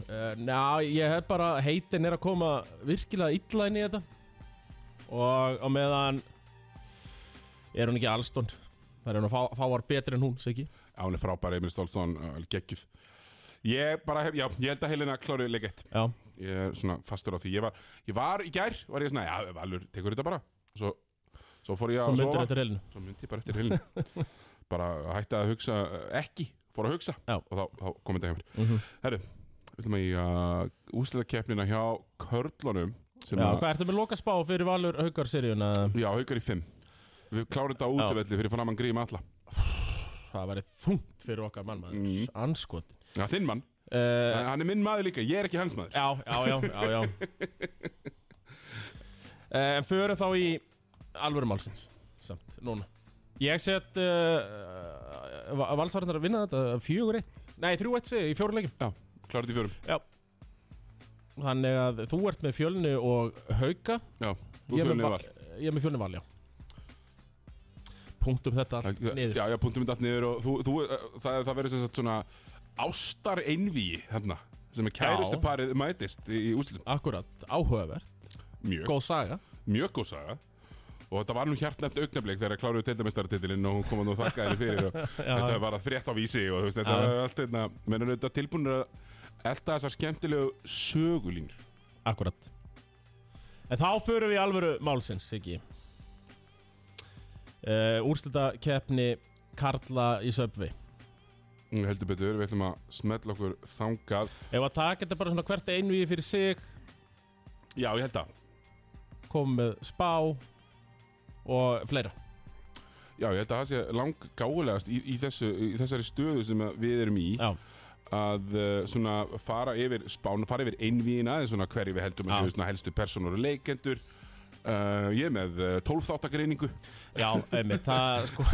Speaker 2: uh, ná, ég hef bara heitin er að koma virkilega illa inn í þetta og á meðan er hún ekki allstund það er hún að fá, fáar betri en hún, segi
Speaker 1: Já, hún er frábær, Emil Stolstón, geggjuð Ég bara hef, já, ég held að Helena klári leik eitt
Speaker 2: já,
Speaker 1: Ég er svona fastur á því Ég var, ég var í gær, var ég svona, já, Valur, tekur þetta bara Svo, svo fór ég
Speaker 2: hún
Speaker 1: að sofa
Speaker 2: myndir þetta reilinu (laughs)
Speaker 1: Svo myndi ég bara eftir Helena Bara hætti að hugsa eh, ekki fór að hugsa
Speaker 2: Já.
Speaker 1: og þá, þá komið þetta hjá mér
Speaker 2: Mhm.
Speaker 1: Herru, við ætlum að í að úslita keppnina hjá Körlunum sem
Speaker 2: Já,
Speaker 1: að,
Speaker 2: hvað ertu með loka spá fyrir Valur Haukar seríuna?
Speaker 1: já, haukar í 5 Við klárum þetta á
Speaker 2: Já.
Speaker 1: útivelli fyrir fann að mann gríma alla
Speaker 2: Það væri þungt fyrir okkar mann maður
Speaker 1: Mm.
Speaker 2: Anskot
Speaker 1: Já, þinn mann,
Speaker 2: uh,
Speaker 1: hann er minn maður líka, ég er ekki hans maður
Speaker 2: Já, já, já, já, já. Eh, En förum þá í alvöru málsins samt, núna Ég set eh, uh, Valsvarnar að vinna þetta fjögur eitt Nei, þrjú eitt segi, ég, í fjóruleikum
Speaker 1: Klárum þetta í fjörum,
Speaker 2: Þannig að þú ert með fjölni og hauka
Speaker 1: þú
Speaker 2: Ég er
Speaker 1: fjörunni
Speaker 2: með
Speaker 1: var
Speaker 2: Val- Ég er með fjölni val, já Punktum þetta allt niður
Speaker 1: Já, já, punktum þetta allt niður og þú, þú, eh, það, það verður sem sagt svona ástar einvíi þarna sem er kærustu parið mætist í, í úslitum
Speaker 2: Akkurat, áhugaverð,
Speaker 1: Mjög,
Speaker 2: góð saga
Speaker 1: mjög góð saga og þetta var nú hjartnæmt augnablik þegar að kláruðu teildamestaratitilinn og hún kom að nú þakka henni fyrir
Speaker 2: (laughs)
Speaker 1: og þetta var að frétt á vísi og þú veist, þetta
Speaker 2: Já.
Speaker 1: var allt einna menn eru þetta tilbúinir að elta þessar skemmtilegu sögulínur
Speaker 2: Akkurat En þá förum við í alvöru málsins, Siggi uh, Úrslita keppni Karla í söpvi
Speaker 1: Mm, heldur betur, við ætlum að smetla okkur þangað
Speaker 2: Ef að taka þetta bara svona hvert einu í fyrir sig
Speaker 1: Já, ég held að,
Speaker 2: komum með spá og fleira
Speaker 1: já, ég held að það sé langgáulegast í, í, þessu, í þessari stöðu sem að við erum í
Speaker 2: Já,
Speaker 1: að uh, svona fara yfir spán, fara yfir einvíina eða svona hverju við heldum að
Speaker 2: Já.
Speaker 1: séu svona helstu personur og leikendur uh, Ég er með uh, 12 þáttakreiningu
Speaker 2: já einmitt það, sko,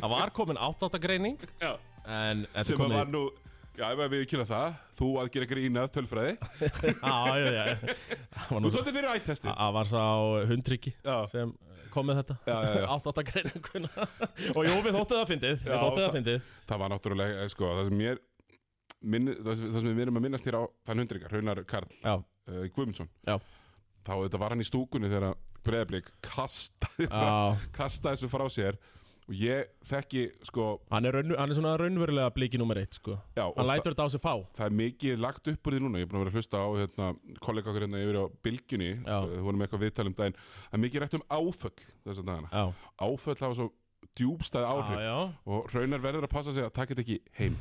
Speaker 2: það var komin áttátagreining
Speaker 1: Já,
Speaker 2: En þetta
Speaker 1: sem að
Speaker 2: komið-
Speaker 1: var nú Já, ef að við kynna það, þú að gera grínað tölfræði
Speaker 2: Já, já, já Það var
Speaker 1: Þú
Speaker 2: nú
Speaker 1: tóttir fyrir ættesti
Speaker 2: Það var sá hundryggi
Speaker 1: Já,
Speaker 2: sem kom með þetta
Speaker 1: Já, já, já.
Speaker 2: átt átt að greina einhverjuna og jú, við þóttum það fyndið við
Speaker 1: Já,
Speaker 2: þóttum það
Speaker 1: það-
Speaker 2: fyndið
Speaker 1: það var náttúrulega, eh, sko, það sem ég er minn, það, sem, það sem við erum að minnast hér á þann hundringar, Raunar Karl
Speaker 2: já,
Speaker 1: uh, Guðmundsson
Speaker 2: Já.
Speaker 1: Þá þetta var hann í stúkunni þegar Breiðablík kastaði,
Speaker 2: já,
Speaker 1: kastaði þessu frá sér og ég þekki, sko,
Speaker 2: hann er, raun, hann er svona raunverulega blíki nummer eitt sko.
Speaker 1: já og
Speaker 2: hann
Speaker 1: það,
Speaker 2: lætur þetta á sig fá
Speaker 1: það er mikið lagt upp úr því núna, ég er búin að vera að hlusta á hérna, kollega okkar hérna yfir á Bylgjunni
Speaker 2: Já.
Speaker 1: eh, þú vorum með eitthvað viðtalum daginn það er mikið rætt um áföll þessa dagana
Speaker 2: já,
Speaker 1: áföll hafa svo djúbstæð áhrif
Speaker 2: já, já.
Speaker 1: og Raunar verður að passa sig að taka þetta ekki
Speaker 2: (laughs)
Speaker 1: heim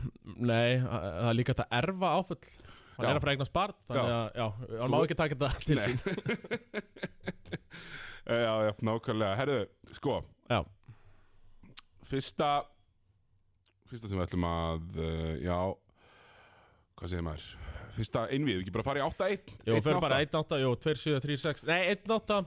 Speaker 2: nei, það það er líka þetta erfa áföll hann
Speaker 1: Já.
Speaker 2: er að fara eignast barn þannig
Speaker 1: Já.
Speaker 2: að, já,
Speaker 1: Þú-
Speaker 2: hann má ekki taka þetta til
Speaker 1: Nei. (laughs)
Speaker 2: sín
Speaker 1: Já, já, nákvæmlega, herðu, sko
Speaker 2: já,
Speaker 1: fyrsta fyrsta sem við ætlum að uh, já, hvað segir maður fyrsta einvið, ekki bara fara í 8-1
Speaker 2: jú,
Speaker 1: Einn
Speaker 2: fyrir bara
Speaker 1: átta.
Speaker 2: 1 8, jú, 2, 7, 3, 6 nei, 1 8,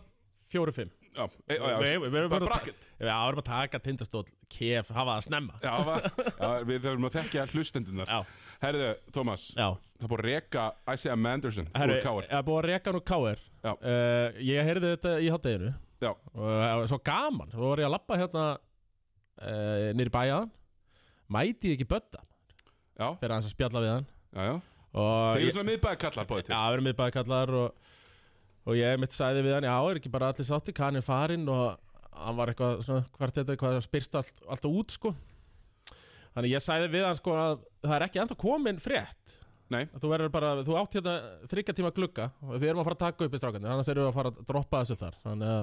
Speaker 2: 4, 5
Speaker 1: Já, e, já, já,
Speaker 2: Við- við erum
Speaker 1: bara
Speaker 2: bara-
Speaker 1: bracket
Speaker 2: já, við erum að taka tindastóll, kef, hafa það snemma
Speaker 1: Já, va- já, við þurfum að þekkja hlustendunar
Speaker 2: já,
Speaker 1: Herðu, Thomas,
Speaker 2: já
Speaker 1: það er búið að reka Isaiah Manderson
Speaker 2: Herru,
Speaker 1: úr káar
Speaker 2: ég er búið að reka hann úr K.R.
Speaker 1: Já.
Speaker 2: uh, Ég heyrði þetta í hátteginu
Speaker 1: Já.
Speaker 2: og það var svo gaman Svo var ég að labba hérna uh, Nýri bæjaðan Mæti ég ekki bötta
Speaker 1: Já,
Speaker 2: Fyrir hans að spjalla við hann
Speaker 1: já, já
Speaker 2: og
Speaker 1: Þeir eru
Speaker 2: ég,
Speaker 1: svona miðbæði kallar báði
Speaker 2: Já,
Speaker 1: til
Speaker 2: við erum miðbæði kallar og, og ég mitt sæði við hann Já, er ekki bara allir sátti Kan er farinn og hann var eitthvað svona, Hvert þetta, hvað spyrst allt, alltaf út sko Þannig ég sæði við hann sko að það er ekki ennþá komin frétt
Speaker 1: Nei.
Speaker 2: Að Þú verður bara, þú átt hérna þryggja tíma glugga og Við erum að fara að taka upp í strákanir Annars erum við að fara að droppa þessu þar Þannig að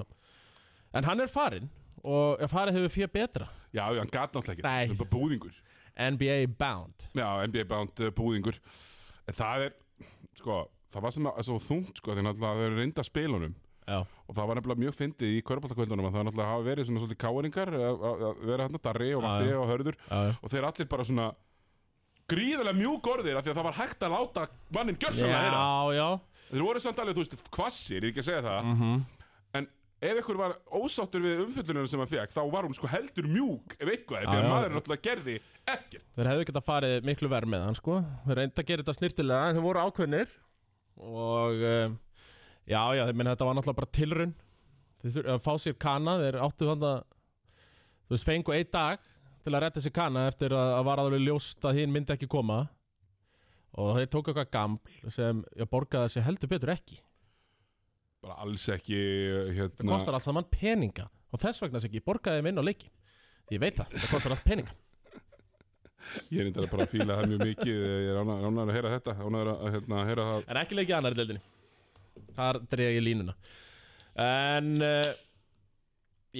Speaker 2: En hann er farinn og farið hefur fyrir betra
Speaker 1: Já, já, hann gat náttúrulega ekki
Speaker 2: Nei.
Speaker 1: Hann er bara búðingur
Speaker 2: NBA bound
Speaker 1: Já, NBA bound uh, búðingur En það er, sko, það var sem að svo þungt, sko, því náttúrulega þau eru reynda spilunum
Speaker 2: Já,
Speaker 1: og það var nefnilega mjög fyndið í körbáltakvöldunum að það náttúrulega hafa verið svona svolítið káringar að að vera hann að Darri og
Speaker 2: Já,
Speaker 1: Matti
Speaker 2: já.
Speaker 1: og Hörður
Speaker 2: já, já
Speaker 1: og þeir allir bara svona gríðarlega mjúk orðir af því að það var hægt að láta mannin gjörsamlega þeirra
Speaker 2: Já, já
Speaker 1: Þeir voru samt alveg, þú veist, kvassir, ég er ekki að segja það
Speaker 2: -hmm.
Speaker 1: en ef ykkur var ósáttur við umfyllunum sem hann fekk þá var hún sko heldur mjúk ef eitthvað, því
Speaker 2: Já,
Speaker 1: að
Speaker 2: já.
Speaker 1: maður náttúrulega gerði ekkert
Speaker 2: Þeir hefðu getað farið miklu verð með hann sko Þeir reynda að gera þetta snirtilega en þeir voru ákveðnir Og um, já, já, þeir minna þetta var náttúrulega bara tilrun Þeir þurftu að fá sér kana Þeir áttu þannig að Þú veist, fengu einn dag til að retta sér kana Eftir að, að var aðalveg ljóst að hinn myndi ekki koma Og þeir tók eitthvað gaml Sem ég borgaði sér heldur betur ekki
Speaker 1: bara alls ekki
Speaker 2: Það
Speaker 1: hérna,
Speaker 2: kostar allt saman peninga Og þess vegna sem ég borgaði þeim inn á leiki Ég veit það, það kostar allt peninga
Speaker 1: ég er þetta bara að fíla það mjög mikið ég er ánægður ánægður að heyra þetta ánægður að hérna, heyra það
Speaker 2: En ekki leikið annar í deildinni Þar dreig ég línuna eh, En uh,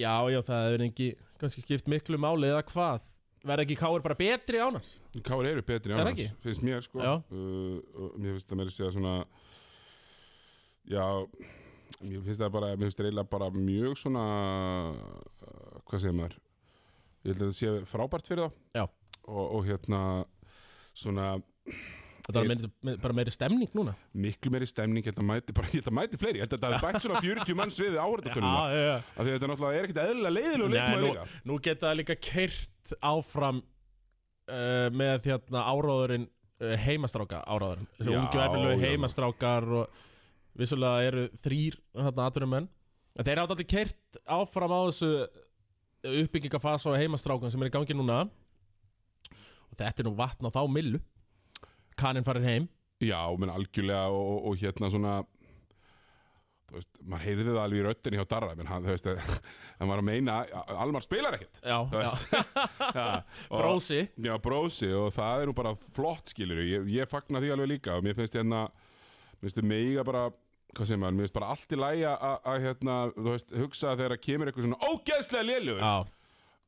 Speaker 2: Já, já, það hefur engi kannski skipt miklu máli eða hvað verða ekki káir bara betri ánars
Speaker 1: Káar eru betri
Speaker 2: Er það
Speaker 1: annars,
Speaker 2: ekki?
Speaker 1: finnst mér sko
Speaker 2: Já.
Speaker 1: uh, og Mér finnst það meira að segja svona Já Mér finnst það bara, mér finnst það eiginlega bara mjög svona uh, Hvað segir maður Ég held að það sé frábært fyrir þá
Speaker 2: Já.
Speaker 1: og, og hérna svona
Speaker 2: Þetta var meiri, me- bara meiri stemning núna
Speaker 1: miklu meiri stemning Ég held að mæti, bara, ég held að mæti fleiri Ég held að það er bætt svona 40 manns við áhverðatunum
Speaker 2: já, já.
Speaker 1: Af því að þetta náttúrulega er ekkert eðlilega leiðilega
Speaker 2: Nei,
Speaker 1: leikmaður
Speaker 2: nú,
Speaker 1: líka
Speaker 2: nú geta það líka keirt áfram uh, með hérna áráðurinn uh, heimastráka áráðurinn þessi
Speaker 1: Já,
Speaker 2: ungu efnilegu
Speaker 1: já.
Speaker 2: heimastrákar og vissulega eru þrýr hérna aðturum menn en þeir átt aldrei keirt áfram á þessu uppbyggingafasa á heimastrákan sem er í gangi núna og þetta er nú vatn á þá millu kaninn farin heim
Speaker 1: Já, menn algjörlega og, og, og hérna svona þú veist, maður heyrði það alveg í röddinni hjá Darra menn hann, þú veist, (laughs) að- hann var að meina að Almar spilar ekkert
Speaker 2: já,
Speaker 1: þú
Speaker 2: já.
Speaker 1: veist.
Speaker 2: (laughs)
Speaker 1: (laughs) ja, og-
Speaker 2: brósi
Speaker 1: Já, brósi og það er nú bara flott skilur ég, ég fagna því alveg líka og mér finnst hérna mér finnst þið mega bara hvað segir maður, mér finnst bara allt í lægi að hérna, þú veist, hugsa þegar að kemur eitthvað svona ógeðslega lélugur
Speaker 2: já,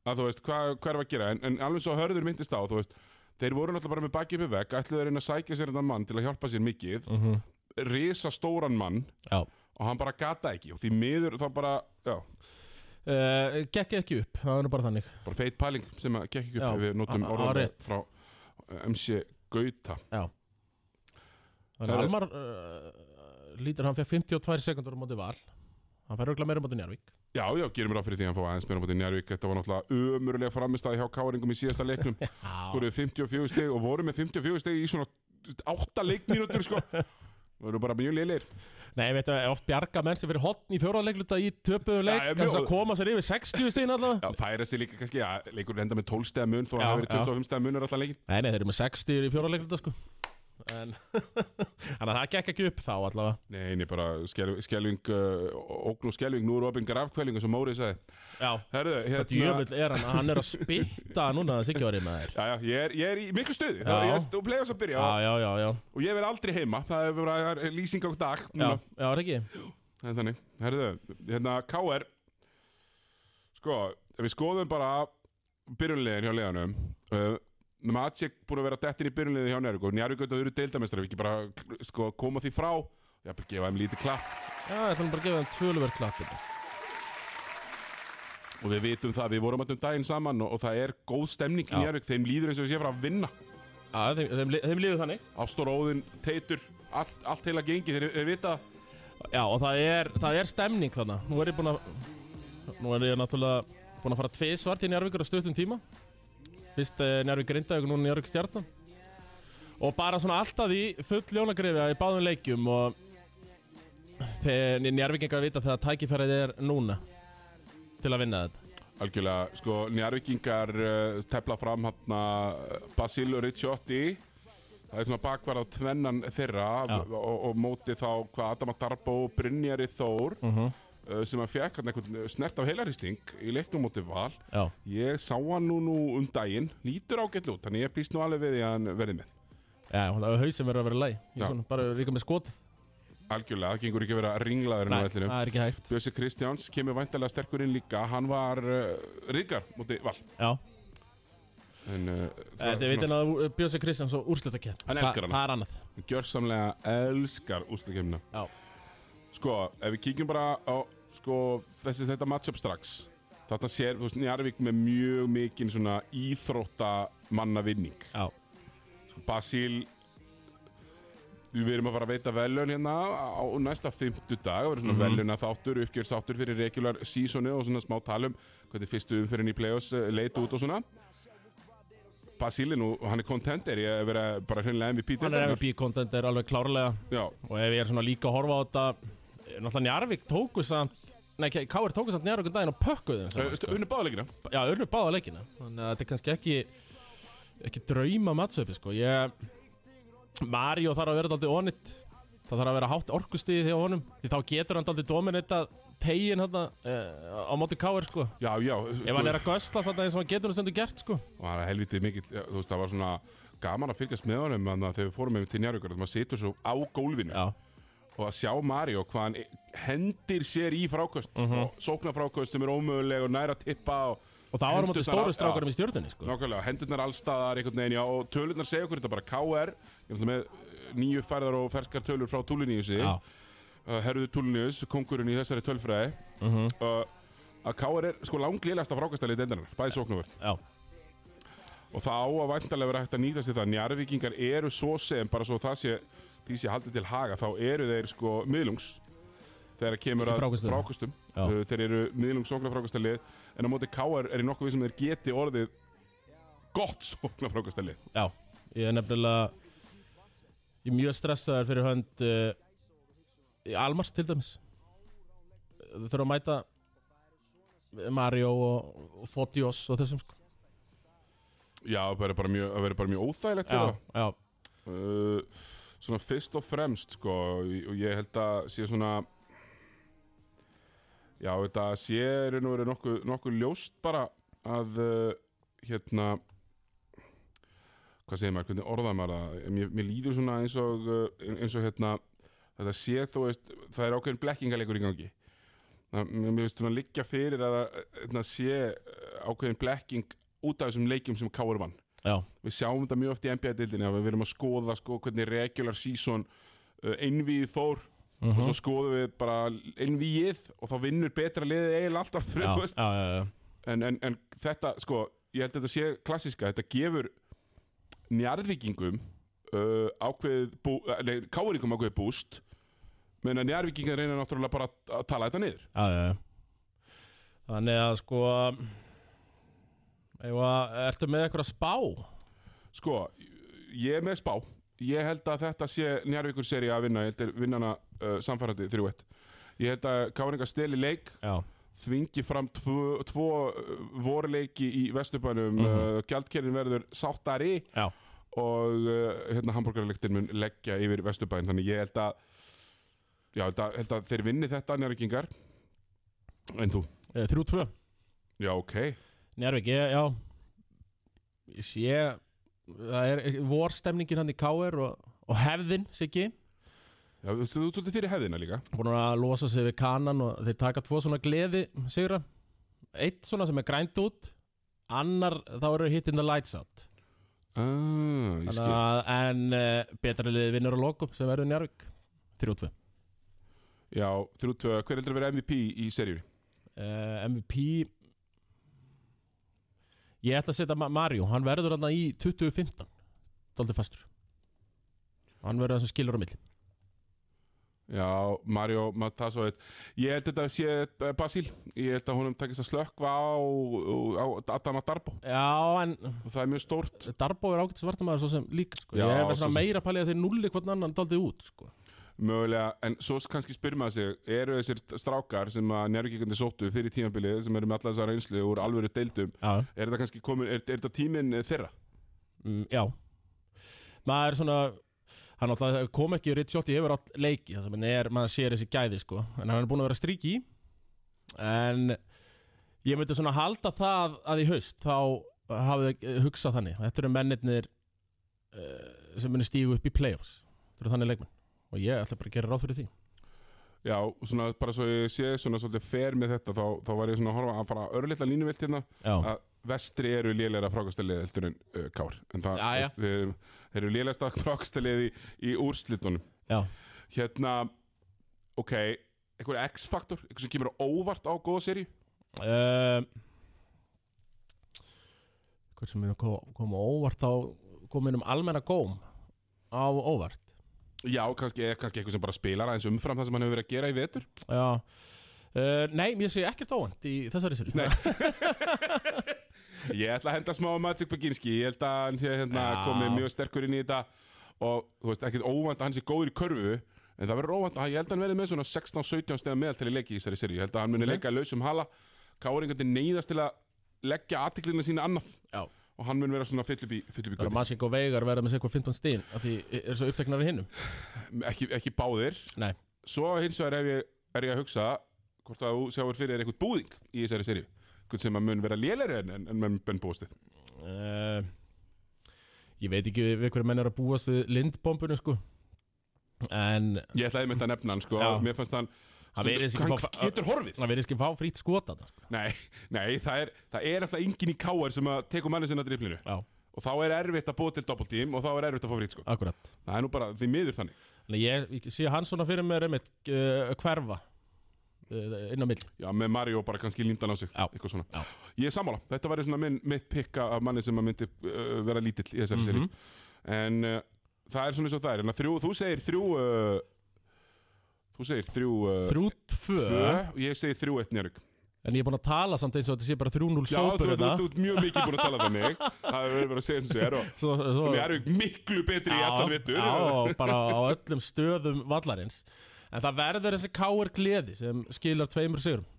Speaker 1: að þú veist, hvað hva er að gera en, en alveg svo hörður myndist á, þú veist þeir voru náttúrulega bara með bakið upp í vegg ætluðu að reyna að sækja sér þetta mann til að hjálpa sér mikið mm
Speaker 2: mhm.
Speaker 1: -hmm. risa stóran mann
Speaker 2: já.
Speaker 1: og hann bara gata ekki og því miður þá bara, já,
Speaker 2: Uh, gekk ekki upp, það er nú bara þannig
Speaker 1: bara feit pæling sem að gekk ekki upp
Speaker 2: Já,
Speaker 1: ef við notum
Speaker 2: á- á-
Speaker 1: orðan
Speaker 2: rétt.
Speaker 1: frá MC Gauta
Speaker 2: Já Þannig
Speaker 1: Það
Speaker 2: að
Speaker 1: er-
Speaker 2: Almar uh, lítur, hann fekk 52 sekundur á móti val Hann fær auðvitað meira á móti Njarvík
Speaker 1: Já, já, gerum ráð fyrir því að hann fá aðeins meira á móti Njárvík þetta var náttúrulega ömurlega framistæði hjá Káringum í síðasta leiknum
Speaker 2: (laughs) Já,
Speaker 1: skoruðu 54 steg og voru með 54 steg í svona 8 leikmínútur
Speaker 2: (laughs)
Speaker 1: sko voru bara mjög liðleir
Speaker 2: Nei, veitum við, oft bjarga menn sem fyrir hotn í fjóraðleikluta í töpuðu leik
Speaker 1: Já, ég
Speaker 2: En þess
Speaker 1: mjög-
Speaker 2: að koma sér yfir 60 stíðin allavega
Speaker 1: Já, færa sig líka kannski, já, leikur enda með 12 stega mun þó að
Speaker 2: Já,
Speaker 1: það hafi verið
Speaker 2: já.
Speaker 1: 25 stega munur alltaf leikin
Speaker 2: Nei, nei, þeir eru með 60 í fjóraðleikluta sko En (laughs) Þannig að það gekk ekki upp þá allavega
Speaker 1: Nei, nei, bara skelving, skelving uh, ógn og skelving, nú eru opinn grafkvæling eins og Móri sagði
Speaker 2: Já
Speaker 1: Herðu, hérna,
Speaker 2: Djöfull er hann, hann er að spitta núna þessi ekki var í maður
Speaker 1: já, já, ég er, ég er í miklu stuði
Speaker 2: Já.
Speaker 1: það er, ég er plegast að byrja
Speaker 2: Já, já, já, já,
Speaker 1: og ég verð aldrei heima, það hefur verið það er lýsing á dag
Speaker 2: já,
Speaker 1: núna.
Speaker 2: já, er ekki
Speaker 1: Það er þannig, herðu, hérna, KR sko, ef við skoðum bara byrjunliðin hjá liðanum uh, Matsik búin að vera dettin í byrjunliðin hjá Njárvík og Njárvík auðvitað eru deildamestrar, við ekki bara sko, koma því frá, já, bara gefa þeim lítið klapp
Speaker 2: Já, ég ætlum bara að gefa hann töluvert klappinu
Speaker 1: og við vitum það, við vorum alltaf um daginn saman og, og það er góð stemning í
Speaker 2: Já.
Speaker 1: Njárvík þeim líður eins og við séum að vinna
Speaker 2: Já, þeim, þeim, li- þeim lífið þannig
Speaker 1: Ástór Óðinn, Teitur, allt, allt heila gengi þeir, þeir vita
Speaker 2: Já og það er, það er stemning þarna Nú er ég búinn að Nú er ég náttúrulega búinn að fara tvisvar til Njárvíkur á stuttum tíma Fyrst eh, Njárvík Grindavík og núna Njárvík Stjarnan Og bara svona alltaf í full ljónagrifi í báðum leikjum og þegar Njárvíkingar vita þegar tækifærið er núna til að vinna þetta
Speaker 1: algjörlega, sko, Njárvíkingar uh, tepla fram hann Basil Ricciotti það er svona bakvarð á tvennan þeirra
Speaker 2: Já.
Speaker 1: og, og móti þá hvað Adam Adarbo og Brynjari Þór
Speaker 2: Mhm.
Speaker 1: uh, sem að fekk hann einhvern snert af heilarýsting í leiknum móti val
Speaker 2: Já
Speaker 1: ég sá hann nú, nú um daginn lítur ágætt út, þannig ég býst nú alveg við því að hann verði með
Speaker 2: Já, hún hafa hausin verið að vera í lagi Ég
Speaker 1: Já.
Speaker 2: svona bara líka með skot
Speaker 1: Algjörlega, það gengur ekki að vera ringlaður en á
Speaker 2: það
Speaker 1: vellinu.
Speaker 2: er ekki hægt
Speaker 1: Bjössi Kristjáns kemur væntalega sterkur inn líka, hann var uh, ríkar mútið val.
Speaker 2: Já,
Speaker 1: En uh,
Speaker 2: Eh, þetta er vitin að Björnsi Kristjáns og úrslita kemd
Speaker 1: Hann elskar hana.
Speaker 2: Það er annað
Speaker 1: gjörsamlega elskar ústakefnina.
Speaker 2: Já,
Speaker 1: Sko, ef við kíkjum bara á sko, þessi þetta matchup strax, þarna sér, þú veist, Njarvík með mjög mikinn svona íþrótta manna vinning.
Speaker 2: já
Speaker 1: Sko, Basíl, við erum að fara að veita velun hérna á á næsta fimmtudag, það verður
Speaker 2: Mhm.
Speaker 1: svona mm veluna þáttur, uppgjörstáttur fyrir regular seasonu og svona smá talum, hvernig fyrstu umfyrin í play-offs eh, leit út og svona. Basíli nú, hann er contender, ég hef verið bara hreinlega MVP
Speaker 2: Hann er
Speaker 1: deildarinnar.
Speaker 2: MVP content er alveg klárlega
Speaker 1: Já,
Speaker 2: og ef ég er svona líka að horfa á þetta eh, náttúrulega Njarvík tóku samt Nei, K.R. tóku samt Njarvík um daginn og pökkuðu þeim saman,
Speaker 1: Eh,
Speaker 2: sko.
Speaker 1: unnu báðleikina.
Speaker 2: Já, unnu báða leikina Þannig að þetta er kannski ekki ekki drauma mattsöpi sko. ég, Mario þarf að vera daldið onitt það þarf að vera hátt orkustíði þegar honum því þá getur hann daldið dominita tegin hana, eh, á móti K.R. Sko.
Speaker 1: Já, já sko,
Speaker 2: ef hann er að gösla þarna eins og hann getur hann stundu gert sko.
Speaker 1: Og hann er helvitið mikill já, Þú veist, það var svona gaman að fylgjast með honum þannig að þegar við fórum með til njárvíkar maður situr svo á gólfinu
Speaker 2: Já,
Speaker 1: og að sjá Mario hvað
Speaker 2: Mhm.
Speaker 1: hann hendir sér í frákost og sóknar frákost sem er ómöguleg og nær að tippa og
Speaker 2: og það var á móti
Speaker 1: Hendurnar
Speaker 2: stóru
Speaker 1: á-
Speaker 2: strákarum í stjórninni sko.
Speaker 1: Nákvæmlega, hendurnar allstaðar einhvern veginn, já, og tölurnar segja okkur þetta bara KR, ég ætla með eh, nýju færðar og ferskar tölur frá Túliníusi,
Speaker 2: Já,
Speaker 1: uh, herðu Túliníus, kongurinn í þessari tölfræði,
Speaker 2: Mhm.
Speaker 1: uh, að KR er sko langlegasta frákastæli deildarinnar, bæði sóknumverð.
Speaker 2: já,
Speaker 1: Og það á að væntanlega vera hægt að nýta sér það, njarvíkingar eru svo sem, bara svo það sé, því sé haldið til haga, þá eru þeir sko miðlungs þegar kemur að
Speaker 2: Frákastum.
Speaker 1: frákustum.
Speaker 2: Já.
Speaker 1: Uh, þeir eru miðlungs sóknarfrákastæli, en á móti KR er í nokkuð við sem þeir geti orðið gott (laughs) sóknarfrákastæli.
Speaker 2: já Ég er nefnilega Ég er mjög stressaður fyrir hönd uh, Almars til dæmis Þau þurfa að mæta Mario og, og Fotios og þessum sko.
Speaker 1: Já, það verður bara mjög, það verður bara mjög óþægilegt fyrir
Speaker 2: Já,
Speaker 1: það.
Speaker 2: já,
Speaker 1: Uh, svona fyrst og fremst, sko, og ég held að sé svona... Já, þetta sé er nú verið nokkuð, nokkuð ljóst bara að, uh, hérna... Hvað segir maður, hvernig orðar maður það? Mér, mér líður svona eins og, uh, eins og hérna... Þetta sé, þú veist, það er ákveðin blekkingarleikur í gangi. Það, mér mér finnst svona liggja fyrir að það hérna, sé uh, ákveðin blekking út af þessum leikjum sem Káur vann
Speaker 2: já,
Speaker 1: við sjáum þetta mjög oft í NBA-dildinni að við erum að skoða sko, hvernig regular season uh, einvíð fór og
Speaker 2: Mhm.
Speaker 1: svo skoðum við bara einvíð og þá vinnur betra liðið eiginlega alltaf
Speaker 2: já,
Speaker 1: frið, þú veist.
Speaker 2: já, já, já.
Speaker 1: en, en, en þetta, sko, ég held að þetta sé klassiska, þetta gefur njarðvíkingum uh, ákveð, bú, eh, nei, káuringum ákveð búst menn að njarðvíkingar reyna náttúrulega bara að- að tala þetta niður
Speaker 2: já, já, já. Þannig að sko Eða, ertu með eitthvað spá?
Speaker 1: Sko, ég er með spá Ég held að þetta sé njárvíkur seri að vinna Ég held að vinna hana uh, samfærandi 3-1 Ég held að Káringa steli leik
Speaker 2: Já,
Speaker 1: Þvingi fram tvo, tvo uh, vorleiki í Vesturbænum mm uh, Gjaldkerinn verður sáttari
Speaker 2: já,
Speaker 1: Og uh, hérna hambúrgarlektin mun leggja yfir Vesturbæn Þannig ég held að Já, held að, held að þeir vinni þetta njárvíkingar En þú?
Speaker 2: Eh, 3-2
Speaker 1: Já, ok
Speaker 2: Njárvík, ég, já Ég sé Það er vorstemningin hann í K.R. og, og hefðin, Siggi
Speaker 1: Já, þú þú ert svolítið fyrir hefðina líka
Speaker 2: Búin að losa sig við kanan og þeir taka tvo svona gleði sigra Eitt svona sem er grænt út Annar, þá eru hittin the lights out
Speaker 1: ah, ég
Speaker 2: Þannig
Speaker 1: skil.
Speaker 2: að, en uh, betra liði vinnur á lokum sem verður Njárvík 3-2
Speaker 1: Já, þrjú tvö, hver heldur að vera MVP í seríur?
Speaker 2: uh, MVP ég ætla að setja Ma- Mario hann verður hann í 2015 daldi fastur hann verður það sem skilur á milli
Speaker 1: Já, Mario Matasso Ég held þetta sé eh, Basíl Ég held að honum takist að slökkva á, á Adama Darbo
Speaker 2: já en
Speaker 1: og það er mjög stórt
Speaker 2: Darbo er ágætt svartamæður svo sem líka sko.
Speaker 1: Já,
Speaker 2: ég er verið
Speaker 1: svo
Speaker 2: svona
Speaker 1: sem.
Speaker 2: meira að palja þeir nulli hvernig annan daldi út sko.
Speaker 1: mögulega, en svo kannski spyrir maður sig eru þessir strákar sem að njárvíkjandi sóttu fyrir tímabilið sem eru með alla þessar reynslu úr alvöru deildum,
Speaker 2: já,
Speaker 1: er þetta kannski komin er, er þetta tíminn eh, þeirra?
Speaker 2: mm, já maður er svona hann alltaf kom ekki rétt sjótt í yfir átt leiki það sem hann er, maður sér þessi gæði sko. en hann er búin að vera stríki en ég myndi svona halda það að í haust þá hafið þau hugsað þannig þetta eru mennirnir uh, sem muni stígu upp í play-offs þetta eru þannig leikmenn og ég ætla bara að gera ráð fyrir því
Speaker 1: Já, svona, bara svo ég sé svona svolítið fer með þetta þá, þá var ég svona að horfa að fara örlítla línuvilt hérna
Speaker 2: já,
Speaker 1: að vestri eru lélæra frákastalið heldur en uh, Kár en það,
Speaker 2: Jæja.
Speaker 1: veist, þeir, eru- þeir eru (laughs) lélæsta frákastalið í, í úrslitunum
Speaker 2: já,
Speaker 1: hérna, ok eitthvað X-faktor, eitthvað sem kemur á óvart á góða seri
Speaker 2: Um, Hvort sem er að ko- koma á óvart á komin um almenna góm á óvart
Speaker 1: já, kannski, eða kannski eitthvað sem bara spilar aðeins umfram það sem hann hefur verið að gera í vetur
Speaker 2: Já Uh, nei, ég sé ekkert óvænt í þessari sér
Speaker 1: Nei. ég ætla að henda smá á Magic Beginski ég held að hann sé hérna
Speaker 2: Já.
Speaker 1: komið mjög sterkur inn í þetta og þú veist, ekkert óvand að hann sé góður í körfu en það verður óvand að ég held að hann verði með svona 16-17 stegar meðal til að leika í þessari seri ég held að hann muni
Speaker 2: Ok.
Speaker 1: leika lausum hala káringandi neyðast til að leggja aðtiklina sína annað
Speaker 2: Já.
Speaker 1: og hann mun vera svona fyll upp í, fyll upp í
Speaker 2: Það er að
Speaker 1: göttin.
Speaker 2: Masing og Veigar verða með sekkur 15 stíðin af því er svo uppteknar í hinnum
Speaker 1: ekki, ekki báðir
Speaker 2: Nei,
Speaker 1: svo hins vegar er ég, er ég að hugsa hvort að þú sjáur fyrir er eitthvað búðing í þessari seri hvort sem að mun vera lélæri en, en, en, en búðstið
Speaker 2: uh, ég veit ekki við hverju menn er að búast við lindbombunum sko En,
Speaker 1: ég ætlaði með þetta að nefna hann sko
Speaker 2: Já.
Speaker 1: mér fannst hann
Speaker 2: Hann virðist ekki
Speaker 1: hann
Speaker 2: fá-
Speaker 1: getur horfið
Speaker 2: Það verðist ekki fá frýtt skota þarna, sko.
Speaker 1: Nei, (laughs) nei það, er, það er alltaf engin í káar sem að tekur manni sinna driplinu
Speaker 2: Já,
Speaker 1: og þá er erfitt að búa til doppeltím og þá er erfitt að fá frýtt sko
Speaker 2: akkurat
Speaker 1: Það er nú bara því miður þannig
Speaker 2: Þannig ég, ég sé hann svona fyrir mér einmitt uh, hverfa uh, inn á mill
Speaker 1: Já, með Mario bara kannski líndan á sig
Speaker 2: Já.
Speaker 1: Eitthvað svona
Speaker 2: Já.
Speaker 1: Ég er sammála, þetta væri svona minn, mitt pikka af manni sem að myndi uh, vera lítill í þessari mm
Speaker 2: Mhm.
Speaker 1: En uh, það er svona eins og það er En að þrjú, þú segir þrjú uh, Þú segir þrjú uh,
Speaker 2: Þrjú tvö
Speaker 1: tvö Og ég segir þrjú eitt njörg
Speaker 2: En ég er búinn að tala samt eins og þetta sé bara 3-0
Speaker 1: Já, þú,
Speaker 2: sópur hérna.
Speaker 1: þú, þú,
Speaker 2: þetta
Speaker 1: þú ert mjög mikið búin að tala þannig Það er verið bara að segja eins og þér og
Speaker 2: Svo, svo
Speaker 1: Við erum miklu betri í allan vittur
Speaker 2: Já, og bara á öllum stöðum vallarins En það verður þessi káir gleði sem skilar tveimur sigurum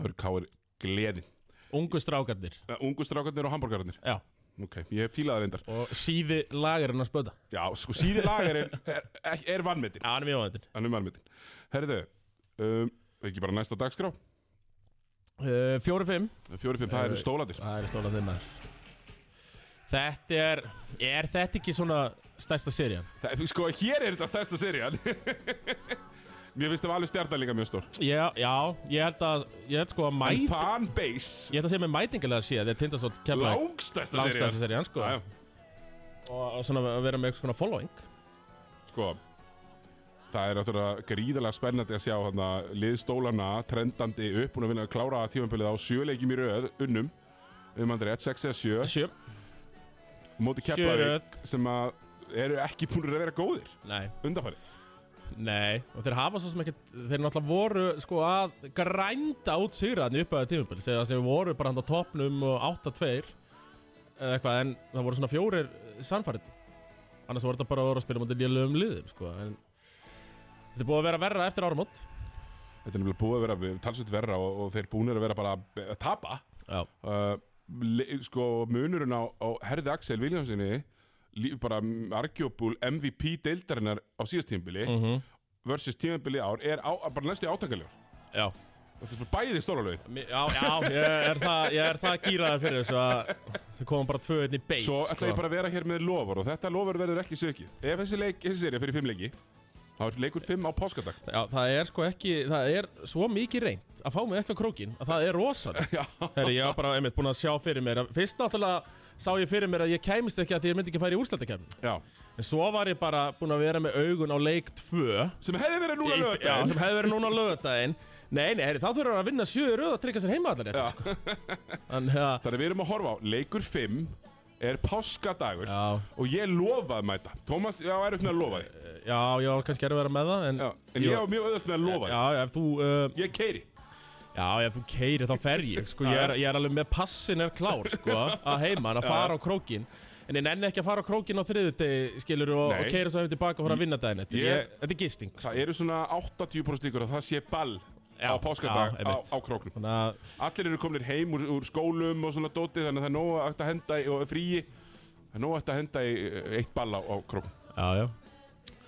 Speaker 1: Það eru káir gleðin
Speaker 2: Ungu strákarnir
Speaker 1: Uh, Ungu strákarnir og hamburgararnir
Speaker 2: Já,
Speaker 1: Ok, ég fílaði reyndar
Speaker 2: og síði lagarinn að spöta
Speaker 1: Já, sko síði lagarinn er, er, er vanmetin
Speaker 2: Já, hann er mjög áhættin
Speaker 1: Hann er mannmyndin. Herðu, um, ekki bara næsta dagskrá.
Speaker 2: uh, Fjóri fimm
Speaker 1: Fjóri, fimm,
Speaker 2: Eh.
Speaker 1: það eru stólandir.
Speaker 2: Það er stóla þeim maður Þetta er, er þetta ekki svona stærsta serían?
Speaker 1: Það, þú- sko, hér er þetta stærsta serían. (laughs) Mér finnst það var alveg stjartalinga mjög stór.
Speaker 2: Já, já, ég held að, ég held sko að mæt
Speaker 1: En fanbase,
Speaker 2: Ég held að segja með mætingalega sé að þetta tindast að kemla
Speaker 1: langstærsta serían.
Speaker 2: langstæðsa serían sko
Speaker 1: Já, já,
Speaker 2: og svona að vera með eitthvað svona following
Speaker 1: Sko, það er náttúrulega gríðarlega spennandi að sjá hana, lið stólana, trendandi upp, búin að vinna að klára tímanbilið á sjöleikjum í röð, unnum, um andri 1, 6 eða 7,
Speaker 2: Sjö
Speaker 1: móti
Speaker 2: Sjö
Speaker 1: keppaði sem að eru ekki búin að vera góðir
Speaker 2: Nei,
Speaker 1: undanfæri.
Speaker 2: nei og þeir hafa svo sem ekkert þeir náttúrulega voru sko að grænda út sigraðin upp að tímubil segja að þeir voru bara handa topnum og 8-2 eða eitthvað en það voru svona fjórir sannfærið annars voru þetta bara að voru að spila mútið lélugum liðum sko en þetta er búið að vera verra eftir áramót
Speaker 1: Þetta er nefnilega búið að vera talsveit verra og, og þeir búinir að vera bara að tapa.
Speaker 2: Já,
Speaker 1: Uh, le- sko munurinn á, á Herði Axel Viljámsinni bara argjóbúl MVP deildarinnar á síðast tímabili versus tímabili ár er á, bara næstu átangaljór
Speaker 2: já
Speaker 1: þetta er bara bæði stóra lögin
Speaker 2: Mér- Já, já, ég er það, ég er það gýraðar fyrir þessu að þau komum bara tvö einn í beit sko.
Speaker 1: svo ætla ég bara að vera hér með lofur og þetta lofur verður ekki sökið ef þessi, leik, þessi serið fyrir fimm leiki þá er leikur fimm á páskadag
Speaker 2: Já, það er sko ekki, það er svo mikið reynd að fá mig ekki á krókin að það er rosalega
Speaker 1: Já.
Speaker 2: Herri, ég var bara einmitt búin að sjá fyrir mér að Fyrst náttúrulega sá ég fyrir mér að ég kæmist ekki að því ég myndi ekki færi í úrslættakefni
Speaker 1: Já.
Speaker 2: En svo var ég bara búin að vera með augun á leik 2
Speaker 1: sem hefði verið núna
Speaker 2: Í- Já,
Speaker 1: lögdæn
Speaker 2: sem hefði verið núna lögudaginn Nei, nei, herri, þá þurfum við að vinna sjö í röð og tryggja sér heima allar rétt sko. Þannig að,
Speaker 1: þannig að við erum að horfa á leikur fimm er páskadagur
Speaker 2: já,
Speaker 1: og ég lofa að mæta Tómas, já, er upp með að lofa því
Speaker 2: já, já, kannski er að vera með það En,
Speaker 1: já, en ég
Speaker 2: Jú.
Speaker 1: á mjög auðvöld með að lofa því
Speaker 2: já, já, ef þú uh,
Speaker 1: Ég keiri
Speaker 2: Já, ef þú keirir þá fer ég sko, ég, er, ég er alveg með passin er klár sko, að heiman, að fara á krókin En ég nenni ekki að fara á krókin á þriðutegi skilur og,
Speaker 1: Nei.
Speaker 2: og keira svo hefur tilbaka og fara að vinna daginn Þetta er-
Speaker 1: Ég-
Speaker 2: ég- þetta er gisting sko,
Speaker 1: Það eru svona 80% líkur að það sé ball
Speaker 2: Já,
Speaker 1: á páskadag á,
Speaker 2: já, einmitt.
Speaker 1: á króknum
Speaker 2: Þannig að,
Speaker 1: Allir eru komnir heim úr, úr skólum og svona dóti þannig að það er nóg að hægt að henda í, og fríi það er nóg að hægt að henda í eh, eitt ball á, á króknum
Speaker 2: já, já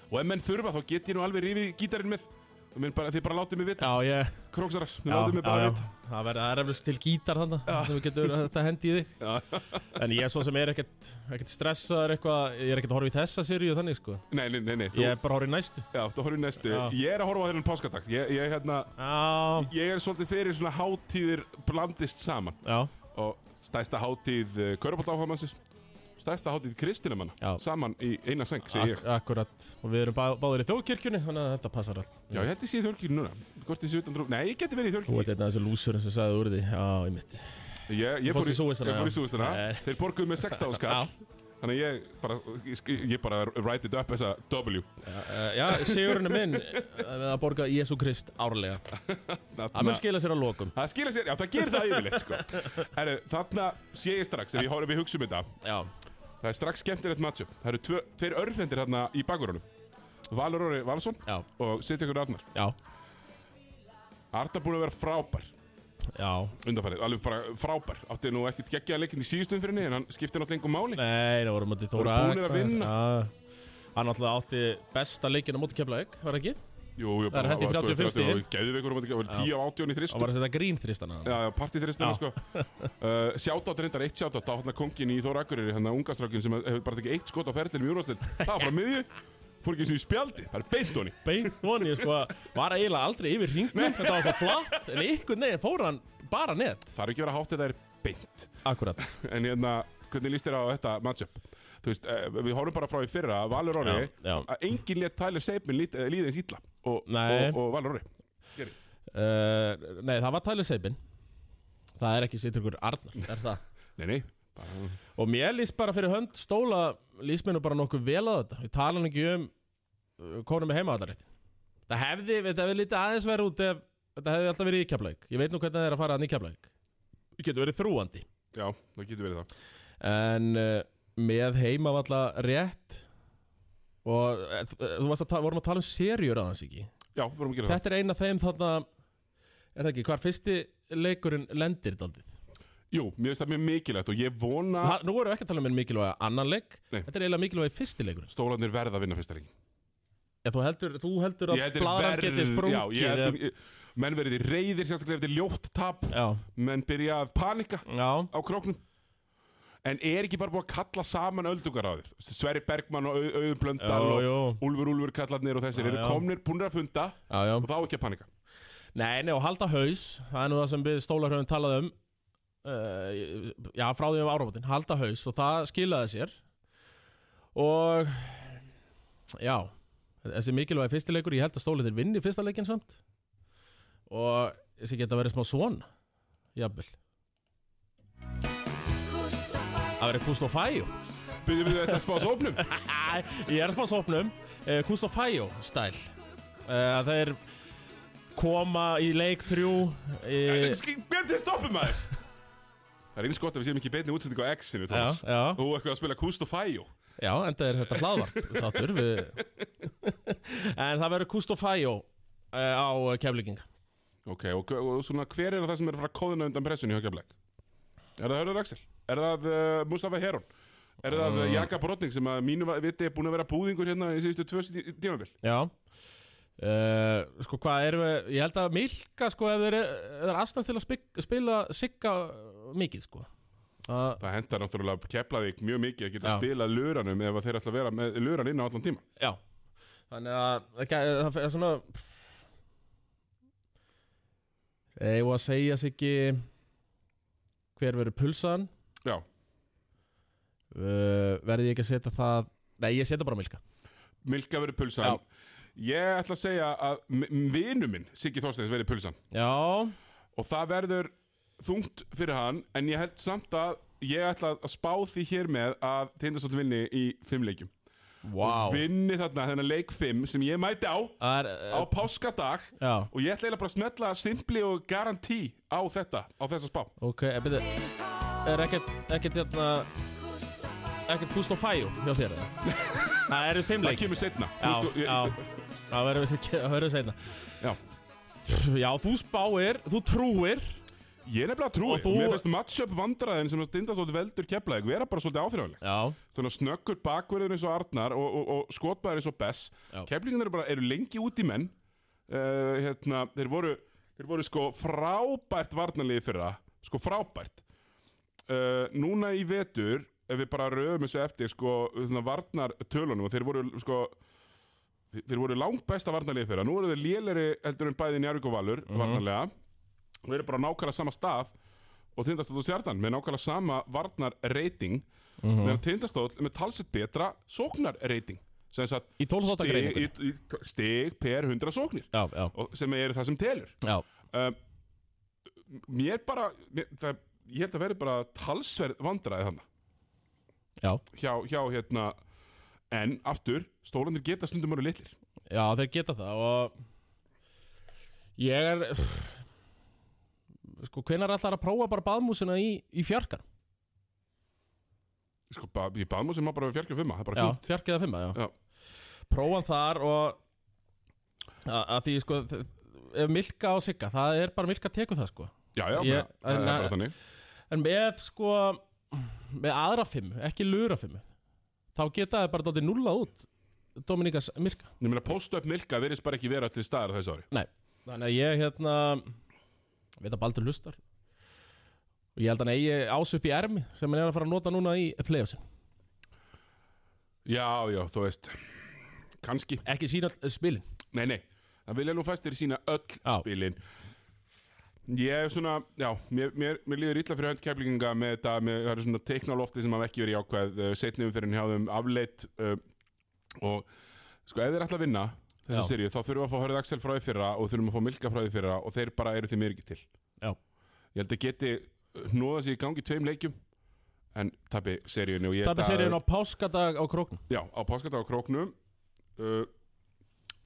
Speaker 1: Og ef menn þurfa þá get ég nú alveg rífið gítarinn með Þú minn bara, þið bara látið mig vita
Speaker 2: Já, ég,
Speaker 1: Króksarar, þið
Speaker 2: já,
Speaker 1: látið mig bara vita
Speaker 2: Það verður- það er eflust til gítar þannig sem við getum þetta hendi í þig
Speaker 1: Já.
Speaker 2: En ég er svo sem er ekkert, ekkert stressaður eitthvað Ég er ekkert að horfa í þessa seríu þannig sko
Speaker 1: Nei, nei, nei, nei þú,
Speaker 2: Ég er bara að horfa í næstu
Speaker 1: já, þú horfum næstu
Speaker 2: Já.
Speaker 1: Ég er að horfa á þennan páskadag ég, ég, hérna,
Speaker 2: Já,
Speaker 1: ég er svolítið fyrir svona hátíðir blandist saman
Speaker 2: já,
Speaker 1: og stæsta hátíð uh, Körbólt áhagamannsins stæsta hátíð kristinamanna
Speaker 2: Já.
Speaker 1: saman í eina seng segi ég
Speaker 2: ak akkurat Og við erum bá báður í þjóðkirkjunni Þannig að þetta passar allt
Speaker 1: Já, ég held ég sé í þjórkirkju núna Hvort ég sé utan trú Nei, ég geti verið í
Speaker 2: Þú ert
Speaker 1: þjórkirkju
Speaker 2: einn af þessu lúsurinn sem sagði úr því Já, ég mitt
Speaker 1: Ég, ég
Speaker 2: Þú
Speaker 1: fór
Speaker 2: fórst
Speaker 1: í
Speaker 2: í súgustana,
Speaker 1: Ég fór í
Speaker 2: já.
Speaker 1: súgustana
Speaker 2: Nei.
Speaker 1: Þeir borguðu með 16 skall Þannig að ég bara ég, sk- ég bara write it up þessa W
Speaker 2: Já, sigurinn er minn eh, Við að borga Jésu Krist árlega Það mun
Speaker 1: Þarna-
Speaker 2: skila sér að lokum
Speaker 1: Það skilja sér, já það gerir það yfirleitt sko Heru, Þarna sé ég strax, ef ég horfum við hugsa um þetta
Speaker 2: Já,
Speaker 1: Það er strax skemmtilegt matchup Það eru tvö, tveir örfendir þarna í bakurunum Valur Orri Valsson
Speaker 2: já,
Speaker 1: og Sittekur Arnar
Speaker 2: já,
Speaker 1: Arnar búin að vera frábær
Speaker 2: já
Speaker 1: undanfærið, alveg bara frábær átti nú ekkert geggjaða leikinn í síðustu umfyrinni en hann skipti náttúrulega engum máli
Speaker 2: Nei, það voru mútið Þóra
Speaker 1: Voru búnir að vinna.
Speaker 2: Já Hann alltaf átti besta leikinn á móti Keflavík, var það ekki?
Speaker 1: jú, jú, sko-
Speaker 2: Það er hent í 35 stig.
Speaker 1: og geðveikur um að það var 10 á 18 í
Speaker 2: Hann
Speaker 1: þristum
Speaker 2: var að setja grín þristana
Speaker 1: já, já, partiþristum
Speaker 2: Já.
Speaker 1: sko. uh, sjátátt reyndar eitt sjátátt á hann kongin í Þóra Akureyri hann að unga strákin sem hefur bara tekið eitt skot á ferðlinn í úrvarslind það var frá miðju fór ekki eins og í spjaldi, bara beint honi
Speaker 2: beint voni, sko, var eiginlega aldrei yfir hringnum, þetta var svo flatt, en einhvern veginn fór hann bara net.
Speaker 1: Það er ekki verið að hátt þetta er beint
Speaker 2: Akkurat.
Speaker 1: En hérna, hvernig líst þér á þetta matchup? Þú veist, eh, við horfum bara frá í fyrra Valur Orri,
Speaker 2: Já, já.
Speaker 1: að enginn létt Tyler Seipin líðið eins illa og,
Speaker 2: Nei.
Speaker 1: og, og Valur Orri
Speaker 2: Uh, nei, það var Tyler Seibin. Það er ekki Sitturgur Arnar, er það?
Speaker 1: Nei, nei, bara,
Speaker 2: Og mér líst bara fyrir hönd stóla, líst mér nú bara nokkuð vel að þetta. Við tala nú ekki um uh, konum með heimaðaréttin. Það hefði, þetta hefði lítið aðeins verið út ef þetta hefði alltaf verið í keflæk. Ég veit nú hvernig það er að fara að nýkeflæk. Það getur verið þrúandi.
Speaker 1: já, það getur verið það
Speaker 2: en uh, með heimavalla rétt og uh, þú varst að tala, vorum að tala um serjur aðeins ekki
Speaker 1: Já, við vorum að gera það
Speaker 2: þetta er eina þeim þarna er það ekki, hvar fyrsti leikurinn lendir daldið
Speaker 1: Jú, mér finnst það mjög mikilvægt og ég vona
Speaker 2: ha, nú vorum við ekki að tala um en mikilvæga annan leik
Speaker 1: Ah. Nei.
Speaker 2: þetta er eiginlega mikilvægi fyrsti leikurinn
Speaker 1: stólanir verða að vinna fyrsta leikin
Speaker 2: Ég, þú, heldur, þú heldur að
Speaker 1: Ég heldur
Speaker 2: blaðran
Speaker 1: verð,
Speaker 2: geti sprungið
Speaker 1: já, ég heldur Menn verið í reyðir, sérstaklega eftir ljótt tap
Speaker 2: já,
Speaker 1: Menn byrja að panika
Speaker 2: já,
Speaker 1: á króknum En er ekki bara búið að kalla saman öldungaráðið? Sverri Bergmann og Au- Auður Blöndal
Speaker 2: Jú,
Speaker 1: og
Speaker 2: jú.
Speaker 1: Úlfur Úlfur kallarnir og þessir
Speaker 2: Já,
Speaker 1: eru
Speaker 2: já.
Speaker 1: komnir búinir að funda
Speaker 2: já, já.
Speaker 1: og þá ekki að panika.
Speaker 2: Nei, nei, og halda haus Það er nú það sem við stólarhauðum talaði um uh, Já, frá því um áramótin Halda haus og það skilaði sér Og Já Þessi mikilvægi fyrstileikur, ég held að stóliðir vinni fyrsta leikinn samt Og þessi geta verið smá svona Jafnvel Það verið Kustofæjó
Speaker 1: Byrjum við þetta að spá þessu
Speaker 2: (laughs)
Speaker 1: opnum?
Speaker 2: Æ, Ég er smá sopnum uh, Kustofæjó stæl uh, Það er koma í leik þrjú uh,
Speaker 1: Björn til stoppum aðeins! Það er eins gott að við séum ekki í beinni útsendingu á X-inu,
Speaker 2: já,
Speaker 1: Thomas.
Speaker 2: já,
Speaker 1: Þú eitthvað að spila Kust og Fæjó.
Speaker 2: já, enda er þetta hlaðvarp þáttur við... En það verður Kust og Fæjó uh, á keflinginga
Speaker 1: Ok, og, og svona hver er það sem er að fara að kóðina undan pressun í Högjablæk? Er það Hörður Axel? Er það uh, Mustafa Heron? Er það uh, Jaka Brotning sem að mínu va- viti er búin að vera búðingur hérna í síðustu tvö sí- tímabil?
Speaker 2: Já uh, Sko hvað erum við Ég held að Milka sko ef þeir eru aðstæðast til að spila, spila sigga mikið sko uh,
Speaker 1: Það hendar náttúrulega Keflavík mjög mikið að geta
Speaker 2: Já.
Speaker 1: spilað luranum ef að þeir ætla að vera með luran inn á allan tíma.
Speaker 2: Já Þannig að það gæ- það er svona Eða að segja sig ekki hver verður pulsan
Speaker 1: Já,
Speaker 2: uh, verði ég ekki að setja það Nei, ég setja bara Milka
Speaker 1: Milka verið pulsan. Ég ætla að segja að m- vinur minn, Siggi Þorsteins, verið pulsan.
Speaker 2: Já,
Speaker 1: Og það verður þungt fyrir hann, en ég held samt að ég ætla að spá því hér með að Tindastótt vinni í fimm leikjum.
Speaker 2: wow
Speaker 1: Vinni þarna þennan leik fimm sem ég mæti á á
Speaker 2: Það er, uh,
Speaker 1: páskadag
Speaker 2: já,
Speaker 1: og ég ætla eiginlega bara að smetla simpli og garantí á þetta, á þessa spá.
Speaker 2: ok, en byrja Er ekkert, ekkert hérna Ekkert púst og fæjú hjá þér eða?
Speaker 1: (laughs)
Speaker 2: Það eru fimm
Speaker 1: Það
Speaker 2: leik
Speaker 1: kemur setna.
Speaker 2: Já, já Það verður (laughs) það verður seinna
Speaker 1: já.
Speaker 2: Já, þú spáir, þú trúir
Speaker 1: Ég er nefnilega trúið,
Speaker 2: Og þú-
Speaker 1: mér finnst matchup vandræðin sem Stindastótt veldur keflaðið vera bara svolítið áþrjáðleg
Speaker 2: Já,
Speaker 1: Þannig að snöggur bakverður eins og Arnar og, og, og skotbæður eins og Bess
Speaker 2: Já.
Speaker 1: Keflingarnir eru bara eru lengi út í menn uh, hérna, þeir, voru, þeir voru sko frábært varnarliði fyrra Sko frábært uh, Núna í vetur, ef við bara röðum þessu eftir sko hérna, varnartölunum og þeir voru sko þeir- Þeir voru langbesta varnarliði fyrra Nú eru þeir léleri heldur en bæði Njarvík og Valur varnarlega og þeir eru bara á nákvæmlega sama stað og tindastótt og stjarnan með nákvæmlega sama varnar reyting meðan tindastótt er með talsett betra sóknar reyting sem sagt
Speaker 2: Í 12 þátta
Speaker 1: stig,
Speaker 2: greiningunni.
Speaker 1: í- í- stig per 100 sóknir
Speaker 2: já, já,
Speaker 1: og sem er það sem telur
Speaker 2: já.
Speaker 1: um, mér bara mér, það, ég held að verði bara talsverð vandræði þannig
Speaker 2: Já,
Speaker 1: hjá, hjá hérna en aftur, stólanir geta stundum eru litlir
Speaker 2: já, þeir geta það og ég er sko, hvenær ætlar að prófa bara baðmúsina í, í fjarkar?
Speaker 1: sko, ba ég baðmú sem maður bara við fjarkja og fimma það er bara
Speaker 2: Já,
Speaker 1: fínt
Speaker 2: fjark eða fimma, já.
Speaker 1: Já.
Speaker 2: Prófan þar og að, að því, sko, þ- ef Milka og Sigga, það er bara Milka tekur það, sko.
Speaker 1: já, já,
Speaker 2: Ég-
Speaker 1: bara, það er
Speaker 2: en-
Speaker 1: bara þannig
Speaker 2: En með, sko, með aðra fimmu, ekki lura fimmu, þá geta það bara dóttir nulla út, Dominíkas Milka.
Speaker 1: ég meina post-up milka verðist bara ekki vera allir staðar á þessu ári
Speaker 2: Nei, þannig að ég hérna veit að Baldur hlustar og ég held að hann eigi ás upp í ermi sem hann er að fara að nota núna í playoffsin
Speaker 1: Já, já, þú veist kannski
Speaker 2: Ekki sína all- spilin
Speaker 1: Nei, nei, það vilja nú fæstir sína öll
Speaker 2: Já.
Speaker 1: spilin Ég er svona, já, mér, mér, mér líður illa fyrir hönd keflinga með þetta, með, það eru svona teiknálofti sem hafa ekki verið jákvæð, uh, setni umferðin hjá þeim afleitt uh, og sko, ef þeir ætla að vinna þessa
Speaker 2: Já.
Speaker 1: serið, þá þurfum við að fá Hörð Axel frá því fyrra og þurfum að fá Milka frá því fyrra og þeir bara eru því mér ekki til.
Speaker 2: Já.
Speaker 1: Ég held að geti hnoða sig í gangi í tveim leikjum, en tapi seríunni og ég
Speaker 2: Tappi seríun hérna á páskadag á króknum
Speaker 1: Já, á páskata á króknum, uh,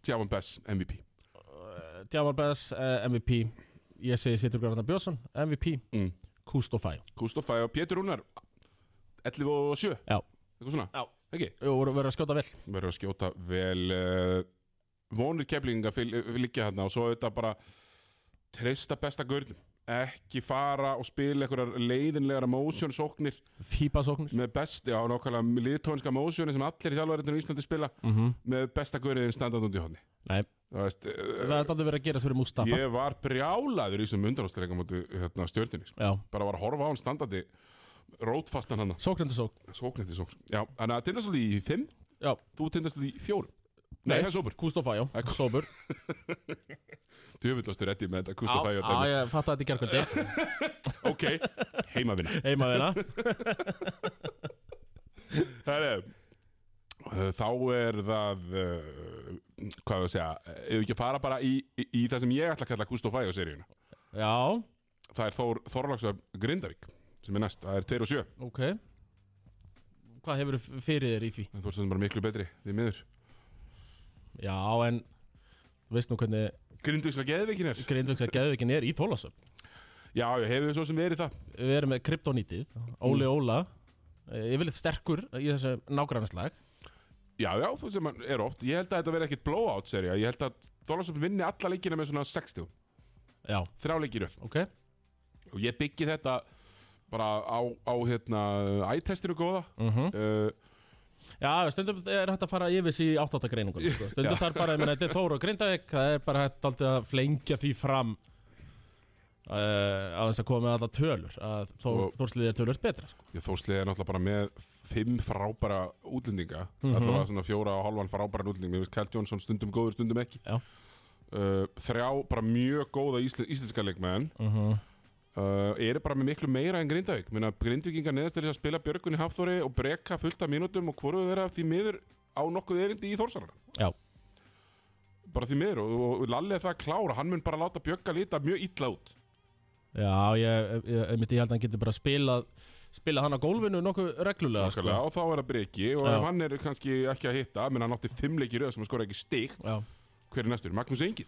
Speaker 1: Tjafan Bess, MVP.
Speaker 2: Djamal Bess, eh, MVP Ég segi Sittur Grafna Björnsson, MVP
Speaker 1: Mm.
Speaker 2: Kúst og fæ
Speaker 1: Gustafæ og Pétur Rúnar 11 og 7
Speaker 2: Já.
Speaker 1: eitthvað svona
Speaker 2: Já.
Speaker 1: ekki
Speaker 2: Jú, voru verið að skjóta vel
Speaker 1: verður að skjóta vel uh, vonir keflinga liggja þarna og svo þetta bara treysta besta gurnum ekki fara og spila einhverjar leiðinlegar motion sóknir
Speaker 2: Fípa sóknir
Speaker 1: með best, já nákvæmlega liðtónska motioni sem allir þjálfarinn á Íslandi spila
Speaker 2: mm
Speaker 1: með besta gurðin standað undir hodni
Speaker 2: Nei,
Speaker 1: það veist,
Speaker 2: það er
Speaker 1: uh,
Speaker 2: aldrei verið að gera fyrir Mustafa
Speaker 1: ég var brjálaður í þessum undanústilega múti hérna, stjörninni, sko.
Speaker 2: Já,
Speaker 1: bara var að horfa á hann standandi rótfastan hann
Speaker 2: sóknandi sókn
Speaker 1: Sókn eftir sókn Já, þannig að tindast þú í 5
Speaker 2: Já.
Speaker 1: Þú tindast þú í 4 Nei,
Speaker 2: Nei.
Speaker 1: það er sópur
Speaker 2: Kúst og fæ, já,
Speaker 1: Ek-
Speaker 2: sóbur
Speaker 1: Þú hefðast þú rétti með þetta
Speaker 2: Já,
Speaker 1: Kustafæði og
Speaker 2: já, ég fatt að þetta í gerkvöldi
Speaker 1: (laughs) dæmi Ok, (laughs) heimavinna
Speaker 2: Heima þeirna
Speaker 1: Herre, uh, Þá er það uh, Hvað á að segja uh, Ef við ekki að fara bara í, í, í það sem ég ætla að kalla Kustafæði á seríuna
Speaker 2: Já,
Speaker 1: Það er Þór, Þorlagsöf Grindavík sem er næst, það er 2 og 7
Speaker 2: ok Hvað hefur fyrir þér í því?
Speaker 1: en þú ert sem bara miklu betri, því miður
Speaker 2: Já, en þú Veist nú hvernig
Speaker 1: Grindavíkska geðvikin er
Speaker 2: Grindvöks að geðveikin er í þólasöfn
Speaker 1: Já, já, hefur svo sem verið það
Speaker 2: Við erum með kryptonítið Óli Óla eh, Yfirleitt sterkur í þessu nágrannaslag
Speaker 1: Já, já, þú sem hann er oft Ég held að þetta verði ekkit blowout serja Ég held að Þorlagsöf vinni alla leikina með svona 60
Speaker 2: Já,
Speaker 1: þrjáleiki röð
Speaker 2: ok
Speaker 1: og ég byggi þetta bara á, á hérna ættestinu góða
Speaker 2: mm
Speaker 1: uh,
Speaker 2: Já, stundum er hægt að fara yfir þessi áttáttagreiningum sko. Stundum þarf bara, ég meina, þetta er Þóra og Grindavík Það er bara hægt aldrei að flengja því fram uh, Að þess að koma með alla tölur Að
Speaker 1: Og-
Speaker 2: Þórsliði er tölur betra sko.
Speaker 1: ég þóslið er náttúrulega bara með fimm frábæra útlendinga
Speaker 2: Mhm.
Speaker 1: allavega svona fjóra og halvan frábæra útlendinga ég veist Kjell Jónsson stundum góður, stundum ekki
Speaker 2: Já.
Speaker 1: Uh, þrjá bara mjög góða ísl, íslenska leikmenn
Speaker 2: mm
Speaker 1: uh, eru bara með miklu meira en Grindavík Minna, Grindvíkingar neðast til þess að spila Björgun í Hafþóri og breka fullt af mínútum og hvoru þeirra því miður á nokkuð erindi í Þórsarana
Speaker 2: Já.
Speaker 1: bara því miður og, og Lalli er það að klára hann mun bara láta Björga líta mjög illa út
Speaker 2: Já, ég, ég, ég, myndi, ég held að hann getur bara spilað Spilað hann á gólfinu nokkuð reglulega sko.
Speaker 1: Nákvæmlega, og þá er það breki og
Speaker 2: Já.
Speaker 1: ef hann er kannski ekki að hitta menn hann átti fimm leiki í röð sem hann skora ekki stig
Speaker 2: Já,
Speaker 1: hver er næstur? Magnús Engil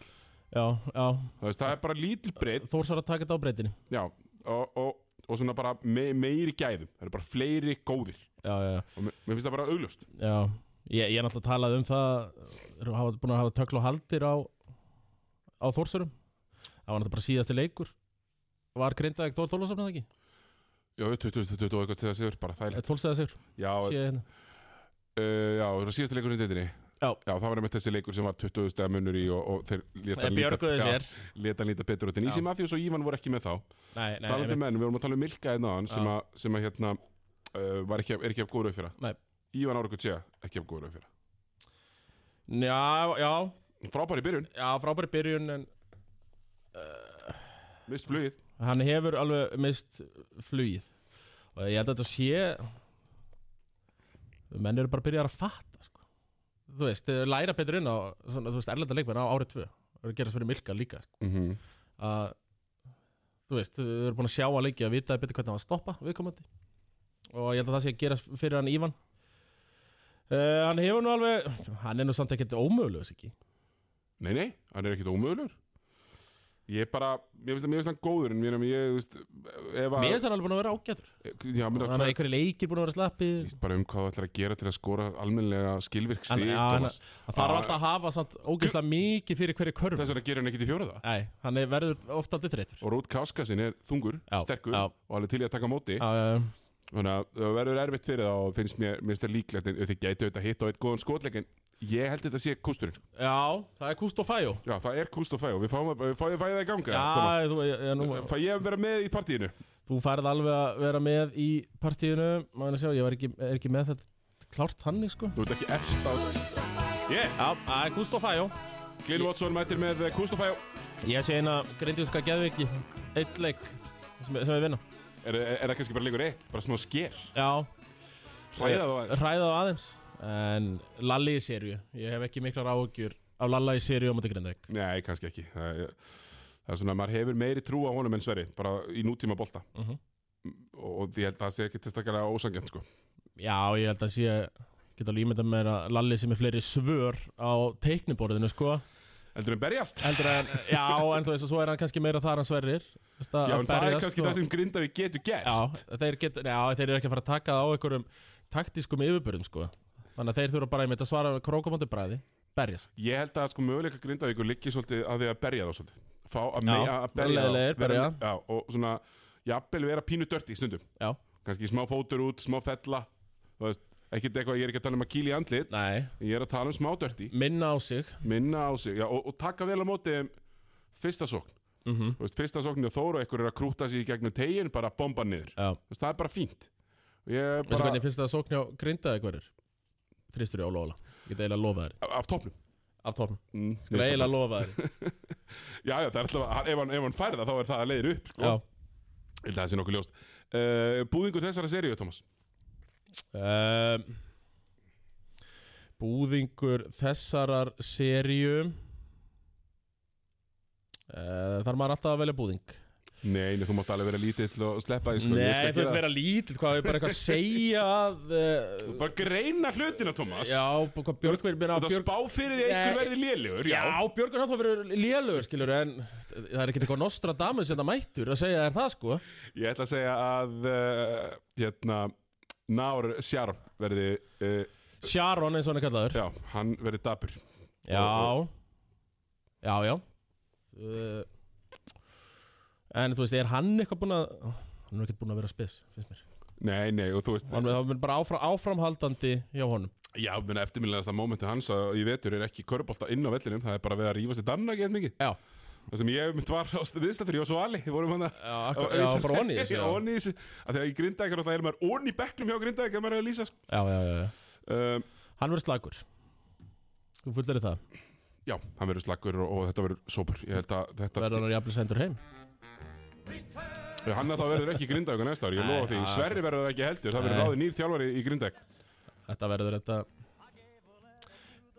Speaker 2: já, já
Speaker 1: það, veist, það er bara lítil breytt
Speaker 2: Þórsar að taka þetta á breytinni
Speaker 1: Já, og, og, og svona bara me, meiri gæðum það eru bara fleiri góðir
Speaker 2: Já, já, já
Speaker 1: og mér, mér finnst það bara augljóst
Speaker 2: Já, ég, ég er náttúrulega talað um það erum hafa, búin að hafa tökla og haldir á á Þórsurum það var náttúrulega bara síðasti leikur var Grindavík Þór Þólasafn eða ekki? Eh,
Speaker 1: Já, 20-20 og eitthvað til það sigur bara þægilegt
Speaker 2: Tólseða sigur
Speaker 1: Já, uh,
Speaker 2: sé hérna.
Speaker 1: já, það var síðasta leikurinn í dildinni
Speaker 2: Já.
Speaker 1: Já, það var einmitt þessi leikur sem var 20 stegar munur í og, og þeir leta
Speaker 2: Þeir björguðu sér
Speaker 1: leta hann líta betur út en
Speaker 2: Já.
Speaker 1: Ísi Matthews og Ívan voru ekki með þá
Speaker 2: Nei, nei,
Speaker 1: talandi um
Speaker 2: einmitt.
Speaker 1: menn, við vorum að tala um Milka einn aðan sem,
Speaker 2: Já.
Speaker 1: að- sem að hérna uh, var ekki, er ekki af góður auðfyrra
Speaker 2: Nei.
Speaker 1: Ívan Ára Kutsja, ekki af góður auðfyrra
Speaker 2: Já, já,
Speaker 1: Frábær í byrjun,
Speaker 2: já, frábæri byrjun en
Speaker 1: mist flugið
Speaker 2: hann hefur alveg mist flugið og ég held að þetta sé menn eru bara að byrja að fatta sko. þú veist, þeir læra betur inn á svona, þú veist, erlenda leikmenn á árið tvö og eru að gera spyrir milka líka sko.
Speaker 1: mm -hmm.
Speaker 2: að þú veist, við erum búin að sjá að leikja að vita betur hvernig hann var að stoppa viðkomandi og ég held að það sé að gera fyrir hann Ívan uh, hann hefur nú alveg hann er nú samt ekkert ómögulegs ekki
Speaker 1: Nei, nei, hann er ekkit ómögulegur Ég bara, mér finnst að mér finnst hann góður en mér finnst ég, þú veist ef að,
Speaker 2: mér er hann alveg búin að vera ágætur
Speaker 1: já, mér
Speaker 2: hann
Speaker 1: finnst
Speaker 2: er einhverju leikir búin að vera slappið
Speaker 1: Íst bara um hvað þú ætlar að gera til að skora almennlega skilvirk
Speaker 2: Hann-
Speaker 1: stig
Speaker 2: já, hann-
Speaker 1: Tómas.
Speaker 2: hann þarf
Speaker 1: Já.
Speaker 2: alltaf að hafa samt ógeðslega mikið fyrir hverju körf
Speaker 1: Þess vegna gerir hann ekkit í fjóraða
Speaker 2: nei, hann er, verður ofta aldrei þreytur
Speaker 1: Og Rút Káskasin er þungur,
Speaker 2: Já,
Speaker 1: sterkur
Speaker 2: já.
Speaker 1: og alveg til í að taka á móti
Speaker 2: uh,
Speaker 1: Þannig að það verður erfitt fyrir það og finnst mér, mér finnst það líklegt en þið gæti auðvitað hitt á eitt góðan skotleik en ég held þetta sé kústurinn sko.
Speaker 2: já, það er Kúst og Fæjó
Speaker 1: Já, það er kúst og fæ og við fáum að, við fáum að fæða það í ganga Thomas.
Speaker 2: já, þú, ég, ég, nú,
Speaker 1: Fæ ég að vera með í partíinu?
Speaker 2: Þú færð alveg að vera með í partíinu Má hann að sjá, ég var ekki, er ekki með þetta klárt þannig sko
Speaker 1: Þú ert ekki efst á
Speaker 3: Kúst og fæ
Speaker 1: Yeah.
Speaker 2: Já, það er Gustaf Fajó
Speaker 1: Glyn Watson mætir með eh, Kustofæjó
Speaker 2: Ég sé eina grindvíska geðviki Eitt leik sem, sem við vinna
Speaker 1: er, er, er það kannski bara leikur eitt? Bara smá sker?
Speaker 2: Já,
Speaker 1: Ræða þá aðeins
Speaker 2: Ræða þá aðeins En Lalli í sériu Ég hef ekki miklar áhugjur á Lalla í sériu á móti Grindavík
Speaker 1: Nei, kannski ekki það, er- það er svona, maður hefur meiri trú á honum en Sverri Bara í nútíma bolta
Speaker 2: Mhm.
Speaker 1: Og, og ég held að það sé ekki tilstaklega ósangjönd sko.
Speaker 2: Já, ég held að sé Geta alveg ímyndað mér að Lalli sem er fleiri svör á teikniborðinu sko
Speaker 1: Heldur en berjast?
Speaker 2: Heldur en, já, en þú veist og svo er hann kannski meira þar en sverrir Veist að-
Speaker 1: Já,
Speaker 2: að
Speaker 1: en það er
Speaker 2: berjast,
Speaker 1: kannski
Speaker 2: sko.
Speaker 1: það sem Grindavík getur gert
Speaker 2: Já, þeir, get, já, þeir eru ekki að fara að taka það á einhverjum taktískum yfirbörðum sko. Þannig að þeir þurfa bara einmitt að svara krókamóti bræði, berjast
Speaker 1: Ég held að sko möguleika Grindavíkur liggi svolítið að því að berja þá svolítið Fá að
Speaker 2: Já,
Speaker 1: mega að berja þá
Speaker 2: leiðilegir,
Speaker 1: vera,
Speaker 2: berja.
Speaker 1: já, Og svona, jafnvel vera pínu dört í stundum
Speaker 2: Já,
Speaker 1: Kannski smá fótur út, smá fella Þú veist, ekkert eitthvað, ég er ekki að tala um að kýla í andlit
Speaker 2: nei,
Speaker 1: Ég er að tala um smá dört í
Speaker 2: minna á sig
Speaker 1: Minna á sig, já, og, og taka vel á móti þeim Fyrsta sókn,
Speaker 2: mm
Speaker 1: þú veist, fyrsta sókn er Þór og einhver er að krúta sig í gegnum tegin Bara bomba niður,
Speaker 2: Já,
Speaker 1: þú veist, það er bara fínt Og Ég
Speaker 2: veistu
Speaker 1: bara,
Speaker 2: hvernig finnst það að sóknja á grindaði hverjir? Þrýstur í ólóla, ég get eiginlega að lofa þér
Speaker 1: af- af topnum
Speaker 2: Af tórn,
Speaker 1: mm,
Speaker 2: ég get Sko, eiginlega að lofa (laughs) þér
Speaker 1: Já, já, það er alltaf, hann- ef hann, ef hann fær það, þá er það að leiðir upp sko.
Speaker 2: Já,
Speaker 1: Ég held að það sé nokkuð ljóst uh, Búðingur þessara seríu, Thomas
Speaker 2: um, Búðingur þessarar seríu uh, Þar maður alltaf að velja búðing
Speaker 1: Nei, nei, þú mátt alveg vera lítill og sleppa því sko. Ég
Speaker 2: Nei,
Speaker 1: skal
Speaker 2: þú veist
Speaker 1: gera-
Speaker 2: vera lítill, hvað er bara eitthvað að segja
Speaker 1: (laughs)
Speaker 2: að
Speaker 1: Þú
Speaker 2: uh,
Speaker 1: Bara greina hlutina, Thomas
Speaker 2: Já, hvað Björgvin meina
Speaker 1: Og það
Speaker 2: Björg,
Speaker 1: spá fyrir því að
Speaker 2: Nei.
Speaker 1: einhver verði lélugur
Speaker 2: Já,
Speaker 1: Já,
Speaker 2: Björgvin hann þá verið lélugur, skilur En það er ekkert eitthvað Nostradamus sem það mættur að segja þér það, sko
Speaker 1: Ég ætla að segja að uh, Hérna Nár Sjarm verði uh,
Speaker 2: Sharon, eins og hann er kallaður
Speaker 1: Já, hann verði dapur
Speaker 2: Já Já, já uh, En þú veist, er hann eitthvað búinn að Hann er ekkert búinn að vera spes, finnst mér
Speaker 1: Nei, nei, og þú veist
Speaker 2: Hann er bara áfram, áframhaldandi hjá honum
Speaker 1: Já, menn eftirminnilegasta mómenti hans að í vetur er ekki körubolta inn á vellinum Það er bara við að rífast í danna gett mikið
Speaker 2: Já,
Speaker 1: Það sem ég mynd var á viðstættur, ég og svo Ali vorum hann að
Speaker 2: já, akkur, já bara onni
Speaker 1: (laughs)
Speaker 2: þessu Já,
Speaker 1: Onni í þessu Af því að í Grindavík er náttúrulega er maður onni í bekknum hjá Grindavík ef maður er að lýsa sko.
Speaker 2: já, já, já, já.
Speaker 1: um,
Speaker 2: Hann verður slagur Þú fullir það
Speaker 1: Já, hann verður slakkur og, og þetta verður sópur Ég held að þetta
Speaker 2: Verður hann jafnlega sendur heim
Speaker 1: Hann að það verður ekki í Grindavík á næsta ár Ég
Speaker 2: Nei,
Speaker 1: lofa því,
Speaker 2: já,
Speaker 1: Sverri verður það ekki heldur Það verður
Speaker 2: Nei.
Speaker 1: ráðið nýr þjálfari í Grindavík
Speaker 2: Þetta verður þetta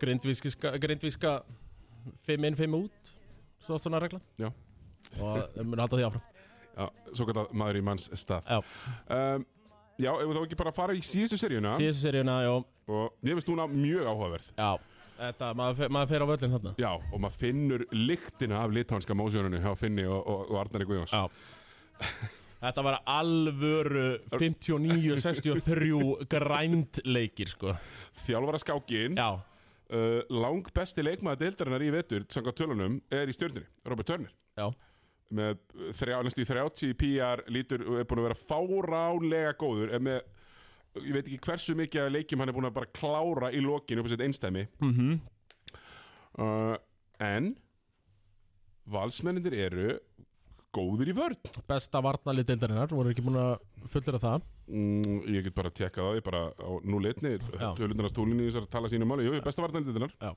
Speaker 2: Grindvíska, grindvíska 5 inn, 5 út Svo oft svona regla
Speaker 1: Já.
Speaker 2: Og þeir mun halda því áfram
Speaker 1: Já, svo kallað maður í manns stað
Speaker 2: Já.
Speaker 1: um, Já, ef við þá ekki bara fara í síðustu seríuna
Speaker 2: Síðustu seríuna, já,
Speaker 1: Og ég finnst núna mjög áhugaverð
Speaker 2: já Þetta, maður, fer- maður fer á völlin þarna
Speaker 1: Já, og maður finnur lyktina af litánska mósjónunni hjá Finni og, og, og Arnari Guðjóns
Speaker 2: Já. Þetta var alvöru 59-63 grændleikir, sko
Speaker 1: Þjálfara skákin
Speaker 2: Já,
Speaker 1: uh, lang besti leikmaður deildarinnar í vetur samkvæmt tölunum er í stjörnunni, Robert Turner
Speaker 2: já,
Speaker 1: með uh, þrjá, næstu í 30 PR lítur og er búin að vera fáránlega góður en með, ég veit ekki hversu mikið af leikjum hann er búin að bara klára í lokinu upp á sitt einstæmi
Speaker 2: mhm
Speaker 1: uh, en valsmennindir eru góðir í vörn
Speaker 2: Besta varnalið deildarinnar, voru ekki búin að fullera það
Speaker 1: mm, ég get bara að tekka það, ég bara á núleitni
Speaker 2: Já.
Speaker 1: tölundarnas túlinni þessar tala sínum máli, jú, jú, besta vartanlítunar
Speaker 2: Já.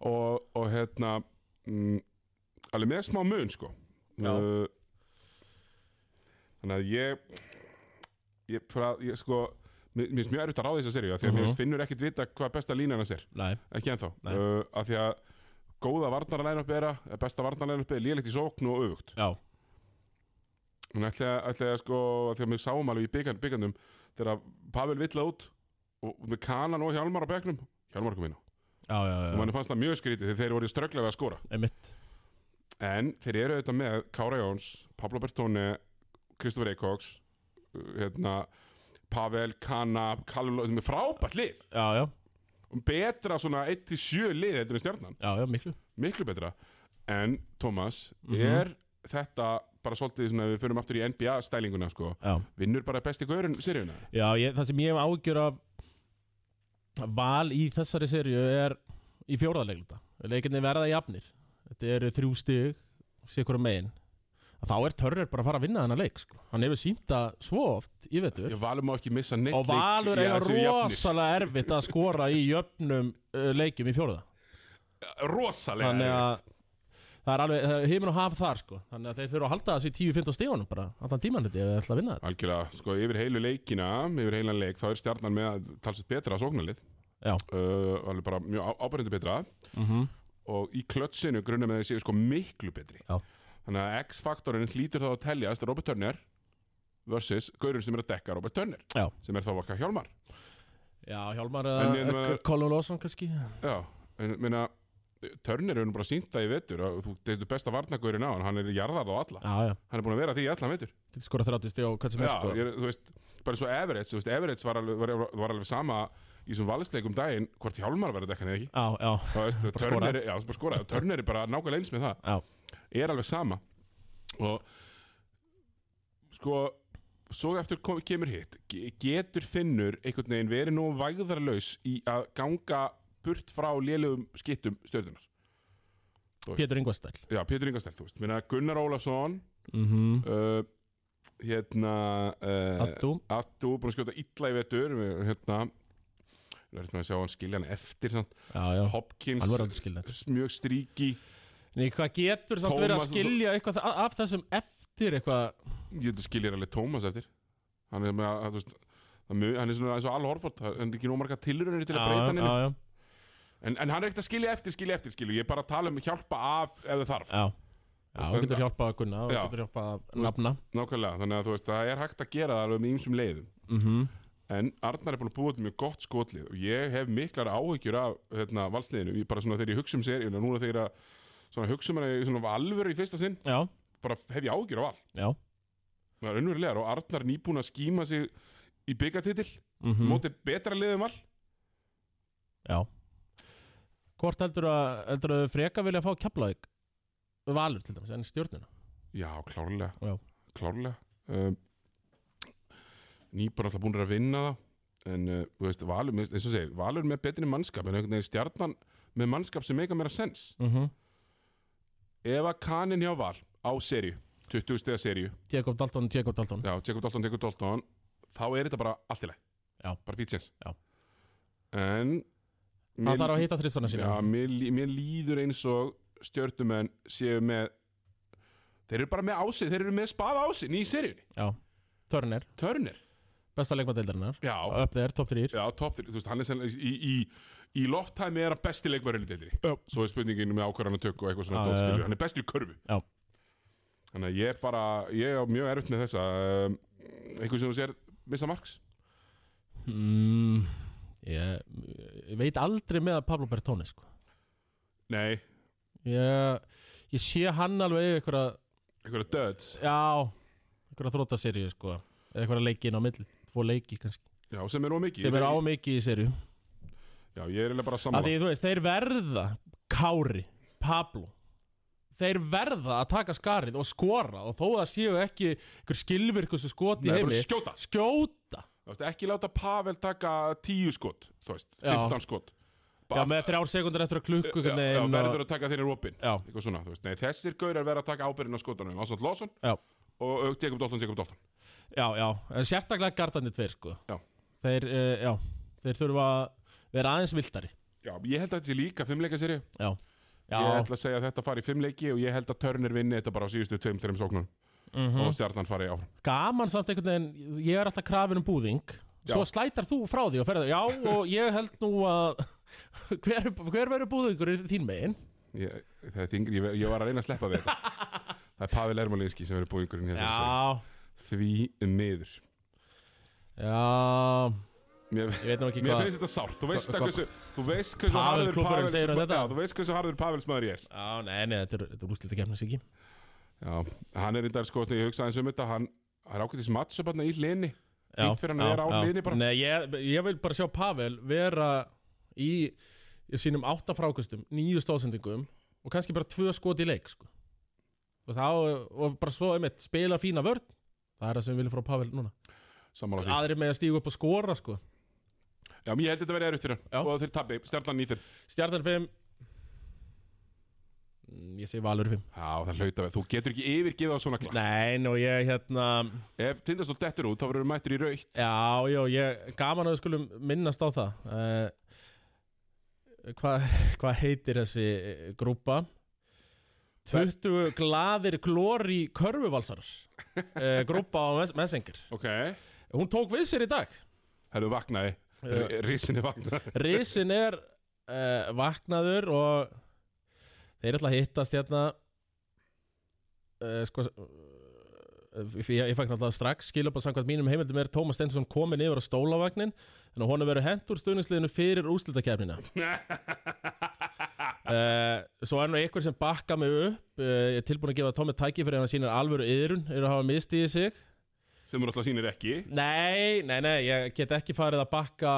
Speaker 1: og, og hérna mm, alveg með smá mun sko
Speaker 2: Já.
Speaker 1: Uh, þannig að ég ég, fra, ég sko mér mér finnst mjög erfitt að ráða þessa seríu af því að
Speaker 2: Mhm.
Speaker 1: mér finnst finnur ekkit vita hvað besta línan hans er
Speaker 2: Nei,
Speaker 1: ekki ennþá,
Speaker 2: Nei.
Speaker 1: uh, af því að góða varnarlænuppi er að besta varnarlænuppi er lélegt í sókn og öfugt
Speaker 2: já,
Speaker 1: Hún ætlaði, ætlaði að sko, af því að við sáum alveg í byggan, byggandum þegar að Pavel vill út og og með kanan og Hjálmar á bekknum Hjálmar kom inn á
Speaker 2: já, já,
Speaker 1: og
Speaker 2: já,
Speaker 1: manni fannst það mjög skrítið þegar þeir voru strögglega við að skora
Speaker 2: einmitt
Speaker 1: en þeir eru auðvitað með Kára Jóns, Pablo Bertone Kristofur Eikóks uh, hérna, Pavel, Kana Kallur, sem er frábært lið
Speaker 2: Já, já,
Speaker 1: og betra svona 1-7 lið heldur en stjarnan,
Speaker 2: já, já, miklu
Speaker 1: miklu betra en Thomas,
Speaker 2: Mhm.
Speaker 1: er þetta bara svolítið svona, ef við förum aftur í NBA stælinguna sko,
Speaker 2: Já,
Speaker 1: vinnur bara besti gaurinn seríuna
Speaker 2: já ég, það sem ég hef ágjör af val í þessari serju er í fjórðarleglunda leikinni verða jafnir þetta eru þrjú stig sér hverju megin að þá er Törrer bara að fara að vinna þennan leik sko. hann hefur sínt það svo oft í vetur
Speaker 1: Ég valur má ekki missa neitt
Speaker 2: og Valur
Speaker 1: leik í
Speaker 2: eiga
Speaker 1: að þessu jafnir.
Speaker 2: rosalega erfitt að skora í jöfnum uh, leikjum í fjóruða
Speaker 1: Rosalega
Speaker 2: þannig
Speaker 1: erfitt.
Speaker 2: að það er alveg, það er heimin og haf þar sko. þannig að þeir þurfa að halda þessi 10-15 stífunum bara allan tíman þetta eða ætla að vinna þetta
Speaker 1: Algjörlega, sko, yfir heilu leikina, yfir heilan leik, þá er stjarnan með að talsett betra sóknarlið.
Speaker 2: Já.
Speaker 1: Uh, alveg bara mjög ábærendu betra Mhm. og í klötsinu grunna með þessi sko miklu betri.
Speaker 2: Já.
Speaker 1: Þannig að X-faktorinn hlýtur þá að teljast Robert Turner versus gaurinn sem er að dekka Robert Turner,
Speaker 2: Já.
Speaker 1: sem er þá vaka Hjálmar.
Speaker 2: Já, Hjálmar
Speaker 1: En hérna- ég
Speaker 2: eða
Speaker 1: meina-
Speaker 2: Colin Lawson kannski
Speaker 1: Já, en meina, Turner er nú bara sínt það í vetur og þú deildu besta varnagurinn á hann, hann er jarðarð á alla.
Speaker 2: Já, já,
Speaker 1: Hann er búin að vera því í allan vetur.
Speaker 2: getur skorað 30 stíð og hvað sem er
Speaker 1: Já,
Speaker 2: sko.
Speaker 1: ég, er- þú veist, bara svo Everett, þú veist, Everett var alveg, var, var alveg sama í þessum valsleikum daginn hvort Hjálmar verið að dekka hann eða ekki.
Speaker 2: Já, já,
Speaker 1: Þú veist,
Speaker 2: skora.
Speaker 1: törnir, já, bara skora, törnir er bara nákvæmlega eins með það.
Speaker 2: já,
Speaker 1: Er alveg sama. Og, sko, svo eftir kom, kemur hitt, Ge- getur Finnur einhvern veginn verið nú vægðarlaus í að ganga burt frá lélugum skittum stjörðunar.
Speaker 2: Pétur Ingvastæl
Speaker 1: Já, Pétur Ingastell, þú veist, minna Gunnar Ólason,
Speaker 2: mm -hmm.
Speaker 1: uh, hérna... Uh,
Speaker 2: Addu,
Speaker 1: Attu, búin að skjóta illa í vetur við, hérna verður maður að sjá hann skilja hann eftir samt.
Speaker 2: já, já,
Speaker 1: Hopkins,
Speaker 2: hann verður aldrei skilja þetta
Speaker 1: mjög stríki
Speaker 2: Nei, hvað getur samt verið að
Speaker 1: Tómas-
Speaker 2: skilja eitthvað a- af þessum eftir eitthvað
Speaker 1: ég veit að skilja alveg Tómas eftir hann er, með, að- að, þú veist, það mjög, hann er svona eins og Al Horford hann er ekki nú marga tilraunir til að breyta hann
Speaker 2: já, já,
Speaker 1: en, en hann er ekkert að skilja eftir, skilja eftir skilju. ég er bara að tala um hjálpa af ef það þarf
Speaker 2: já, já,
Speaker 1: Þú
Speaker 2: þú
Speaker 1: veist,
Speaker 2: getur hjálpað að gunna og
Speaker 1: Já.
Speaker 2: getur hjálpað að
Speaker 1: veist-
Speaker 2: nafna
Speaker 1: nákvæmlega, þannig að þú veist, það er hægt að gera það alveg með ýmsum leiðum
Speaker 2: Mhm.
Speaker 1: en Arnar er búin að búa til mjög gott skotlið og ég hef miklar áhyggjur af hérna, valsliðinu, ég bara svona þegar ég hugsa um seríun og núna þegar ég er að svona, hugsa um hana í svona alvöru í fyrsta sinn,
Speaker 2: já,
Speaker 1: bara hef ég áhyggjur af all
Speaker 2: já
Speaker 1: það er unnverulegar og Arnar nýbúin að skíma sig í byggatitil,
Speaker 2: mm
Speaker 1: móti betra liðum all
Speaker 2: já hvort heldur að, heldur að freka vilja fá keflaðik valur til dæmis, en stjórnina
Speaker 1: já, klárlega
Speaker 2: Já.
Speaker 1: klárlega um, nýbúin alltaf búin að vinna það en uh, þú veist, valur, með- eins og segi valur með betri mannskap, en einhvern veginn stjarnan með mannskap sem meika meira sens
Speaker 2: mm -hmm.
Speaker 1: ef að kanin hjá val á serju 20 stiga serju,
Speaker 2: Jacob Dalton, Jacob Dalton
Speaker 1: já, Jacob Dalton, Jacob Dalton þá er þetta bara allt í lagi
Speaker 2: Já.
Speaker 1: bara fýt sens
Speaker 2: Já.
Speaker 1: en
Speaker 2: hann þarf að hitta þristana sína
Speaker 1: Já, mér, lí- mér líður eins og stjörnumenn séu með Þeir eru bara með ásinn, þeir eru með spaða ásinn í seríunni
Speaker 2: Turner,
Speaker 1: Turner,
Speaker 2: besta leikmadeildarinnar
Speaker 1: já,
Speaker 2: upp þeir, top 3
Speaker 1: já, top 3 Þú veist, hann er sennilega í, í, í lofttæmi er hann besti leikmærinni deildri
Speaker 2: Já.
Speaker 1: Svo er spurningin með ákvarðan og tökku og eitthvað svona
Speaker 2: Já, já, já.
Speaker 1: dótskilur Hann er bestur í körfu
Speaker 2: Já.
Speaker 1: Þannig að ég er bara, ég er mjög erfitt með þessa um, Eitthvað sem þú sér, missa marks
Speaker 2: mm, ég, ég veit aldrei með Pablo Bertone sko.
Speaker 1: Nei,
Speaker 2: ég, ég sé hann alveg eiga einhverja,
Speaker 1: eitthvað döds
Speaker 2: já einhverja þróttaserju sko. eða einhverja leiki inn á milli, tvo leiki kannski
Speaker 1: Já, sem er ómikið
Speaker 2: sem er á mikið í serju
Speaker 1: Já, ég er eiginlega bara
Speaker 2: að
Speaker 1: sammála
Speaker 2: því þú veist, þeir verða Kári, Pablo þeir verða að taka skarið og skora og þó að séu ekki einhver skilvirkustu skot í
Speaker 1: Nei, bara
Speaker 2: heimi
Speaker 1: skjóta
Speaker 2: skjóta,
Speaker 1: Þú veist, ekki láta Pavel taka 10 skot, þú veist,
Speaker 2: Já.
Speaker 1: 15 skot
Speaker 2: já með þrjár sekundur eftir að klukku
Speaker 1: já,
Speaker 2: einhvern
Speaker 1: já,
Speaker 2: veginn og-
Speaker 1: verður að taka þeirri opinn
Speaker 2: já,
Speaker 1: eitthvað svona, þú veist, nei, þessir gaurar verða að taka ábyrðin á skotunum, Ásand Lawson
Speaker 2: Já.
Speaker 1: og og Jacob Dalton, Jacob Dalton
Speaker 2: Já, já, en sérstaklega gardarnir tveir sko
Speaker 1: Já.
Speaker 2: Þeir, uh, já, þeir þurfa að vera aðeins viltari
Speaker 1: Já, ég held að þetta sé líka fimmleikaseri ég
Speaker 2: Já, já,
Speaker 1: ætla að segja að þetta fari í fimmleiki og ég held að Turner vinni þetta bara á síðustu tveim, þreim sóknum
Speaker 2: mhm.
Speaker 1: og stjarnan fari áfram
Speaker 2: gaman samt einhvern veginn Ég er alltaf krafin um búðing
Speaker 1: Já.
Speaker 2: Svo slætar þú frá því og ferð Já, og ég held nú að (laughs) Hver, hver verður búðingur í þín megin?
Speaker 1: ég, það er þingri, ég, ver- ég var að reyna að sleppa við
Speaker 2: (laughs)
Speaker 1: þetta það er Pavel Ermolinski sem verður búingurinn hér
Speaker 2: Já,
Speaker 1: því miður
Speaker 2: já,
Speaker 1: mér,
Speaker 2: ég veit nú ekki
Speaker 1: mér
Speaker 2: hvað
Speaker 1: finnst þetta sárt, þú veist
Speaker 2: Hva-
Speaker 1: að
Speaker 2: hva-
Speaker 1: hversu þú veist hversu
Speaker 2: Pavel
Speaker 1: harður
Speaker 2: klúbburinn
Speaker 1: Pavels
Speaker 2: segir um þetta.
Speaker 1: já, þú veist hversu harður Pavels maður ég er
Speaker 2: Já, nei, nei, þetta er, þetta er úsleita kemnis ekki
Speaker 1: Já, hann er reyndar sko, þegar ég hugsa aðeins um þetta hann, hann er ákveðtis matchup hann í hlinni Fínt fyrir hann að vera á hliðinni bara.
Speaker 2: Nei, ég, ég vil bara sjá Pavel vera í, í sínum átta frákustum, nýju stóðsendingum og kannski bara tvö skot í leik sko. og, þá, og bara svo einmitt, spila fína vörn það er það sem við viljum frá Pavel núna
Speaker 1: sammála því.
Speaker 2: aðrir með að stíga upp og skora sko.
Speaker 1: Já, mér held þetta verið erfitt fyrir hann
Speaker 2: Já.
Speaker 1: og þeir tabbi, stjarnan í þeim
Speaker 2: stjartan 5 Mm, Ég segi Valur 5
Speaker 1: Já, það hlauta við. Þú getur ekki yfirgið á svona glatt.
Speaker 2: Nei, og ég hérna
Speaker 1: Ef tindastól dettur út, þá verður mættur í raukt.
Speaker 2: Já, já, ég gaman að við skulum minnast á það uh, Hvað hva (laughs) heitir þessi eh, grúpa? 20 glaðir glóri körfuvalsar uh, Grúpa á Mes- Messenger
Speaker 1: Ok.
Speaker 2: Hún tók við sér í dag
Speaker 1: Herðu vaknaði.
Speaker 2: Eh,
Speaker 1: Rísinni vaknaði. (laughs)
Speaker 2: Risin er uh, vaknaður og þeir ætla að hittast hérna uh, sko eh, ég, ég fæk náttúrulega strax skilabað samkvæmt mínum heimildum er Tómas Stensson komin yfir á stólavagnin en hún er verið hent úr stöðningsliðinu fyrir úrslitakefnina uh, svo er nú einhver sem bakka mig upp uh, ég er tilbúin að gefa Tómi tæki fyrir ef hann sýnir alvöru yðrun er að hafa mistið í sig
Speaker 1: Sem þú náttúrulega sýnir ekki.
Speaker 2: Nei, nei, nei, ég get ekki farið að bakka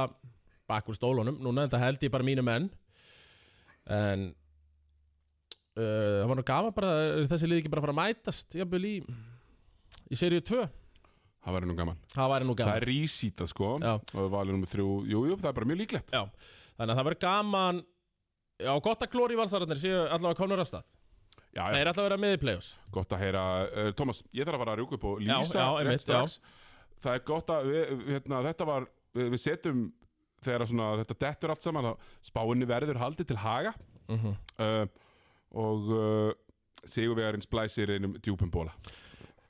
Speaker 2: bakk úr stólunum, núna þetta held ég bara mínu menn en uh, það var nú gaman bara eru þessi liði ekki bara að fara að mætast jafnvel í, í seríu 2
Speaker 1: Það væri nú gaman.
Speaker 2: það væri nú
Speaker 1: Það
Speaker 2: gaman
Speaker 1: er rísítað, sko.
Speaker 2: Já.
Speaker 1: Og valið nummer þrjú. Jú, jú, það er bara mjög líklegt.
Speaker 2: Já, þannig að það væri gaman já, gott að glóri valsararnir séu allavega komnur að stað,
Speaker 1: Já,
Speaker 2: það
Speaker 1: já,
Speaker 2: er allavega að vera með í play-offs
Speaker 1: gott að heyra. Uh, Thomas, ég þarf að fara að rjúka upp og
Speaker 2: Já,
Speaker 1: lýsa
Speaker 2: já, einmitt,
Speaker 1: rétt strax. Það er gott að, við, við- hérna, þetta var, við, við setjum, þegar að svona, þetta dettur allt saman, að spáinni verður haldið til haga.
Speaker 2: mm
Speaker 1: uh, og uh, Sigurvegarins blæsir einum djúpum bóla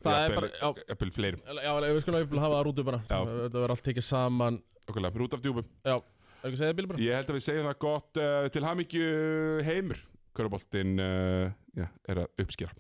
Speaker 2: Það er
Speaker 1: Jafnvel-
Speaker 2: bara-
Speaker 1: jafnvel fleirum
Speaker 2: Já, við skulum að hafa það rútu bara
Speaker 1: Já.
Speaker 2: þetta verður allt tekið saman
Speaker 1: okkurlega, rút af djúpum
Speaker 2: Já, er ekki að segja það bíl bara?
Speaker 1: ég held að við segjum eh, það gott uh, til hamingju heimur Köruboltin uh, já, eh, er að uppskera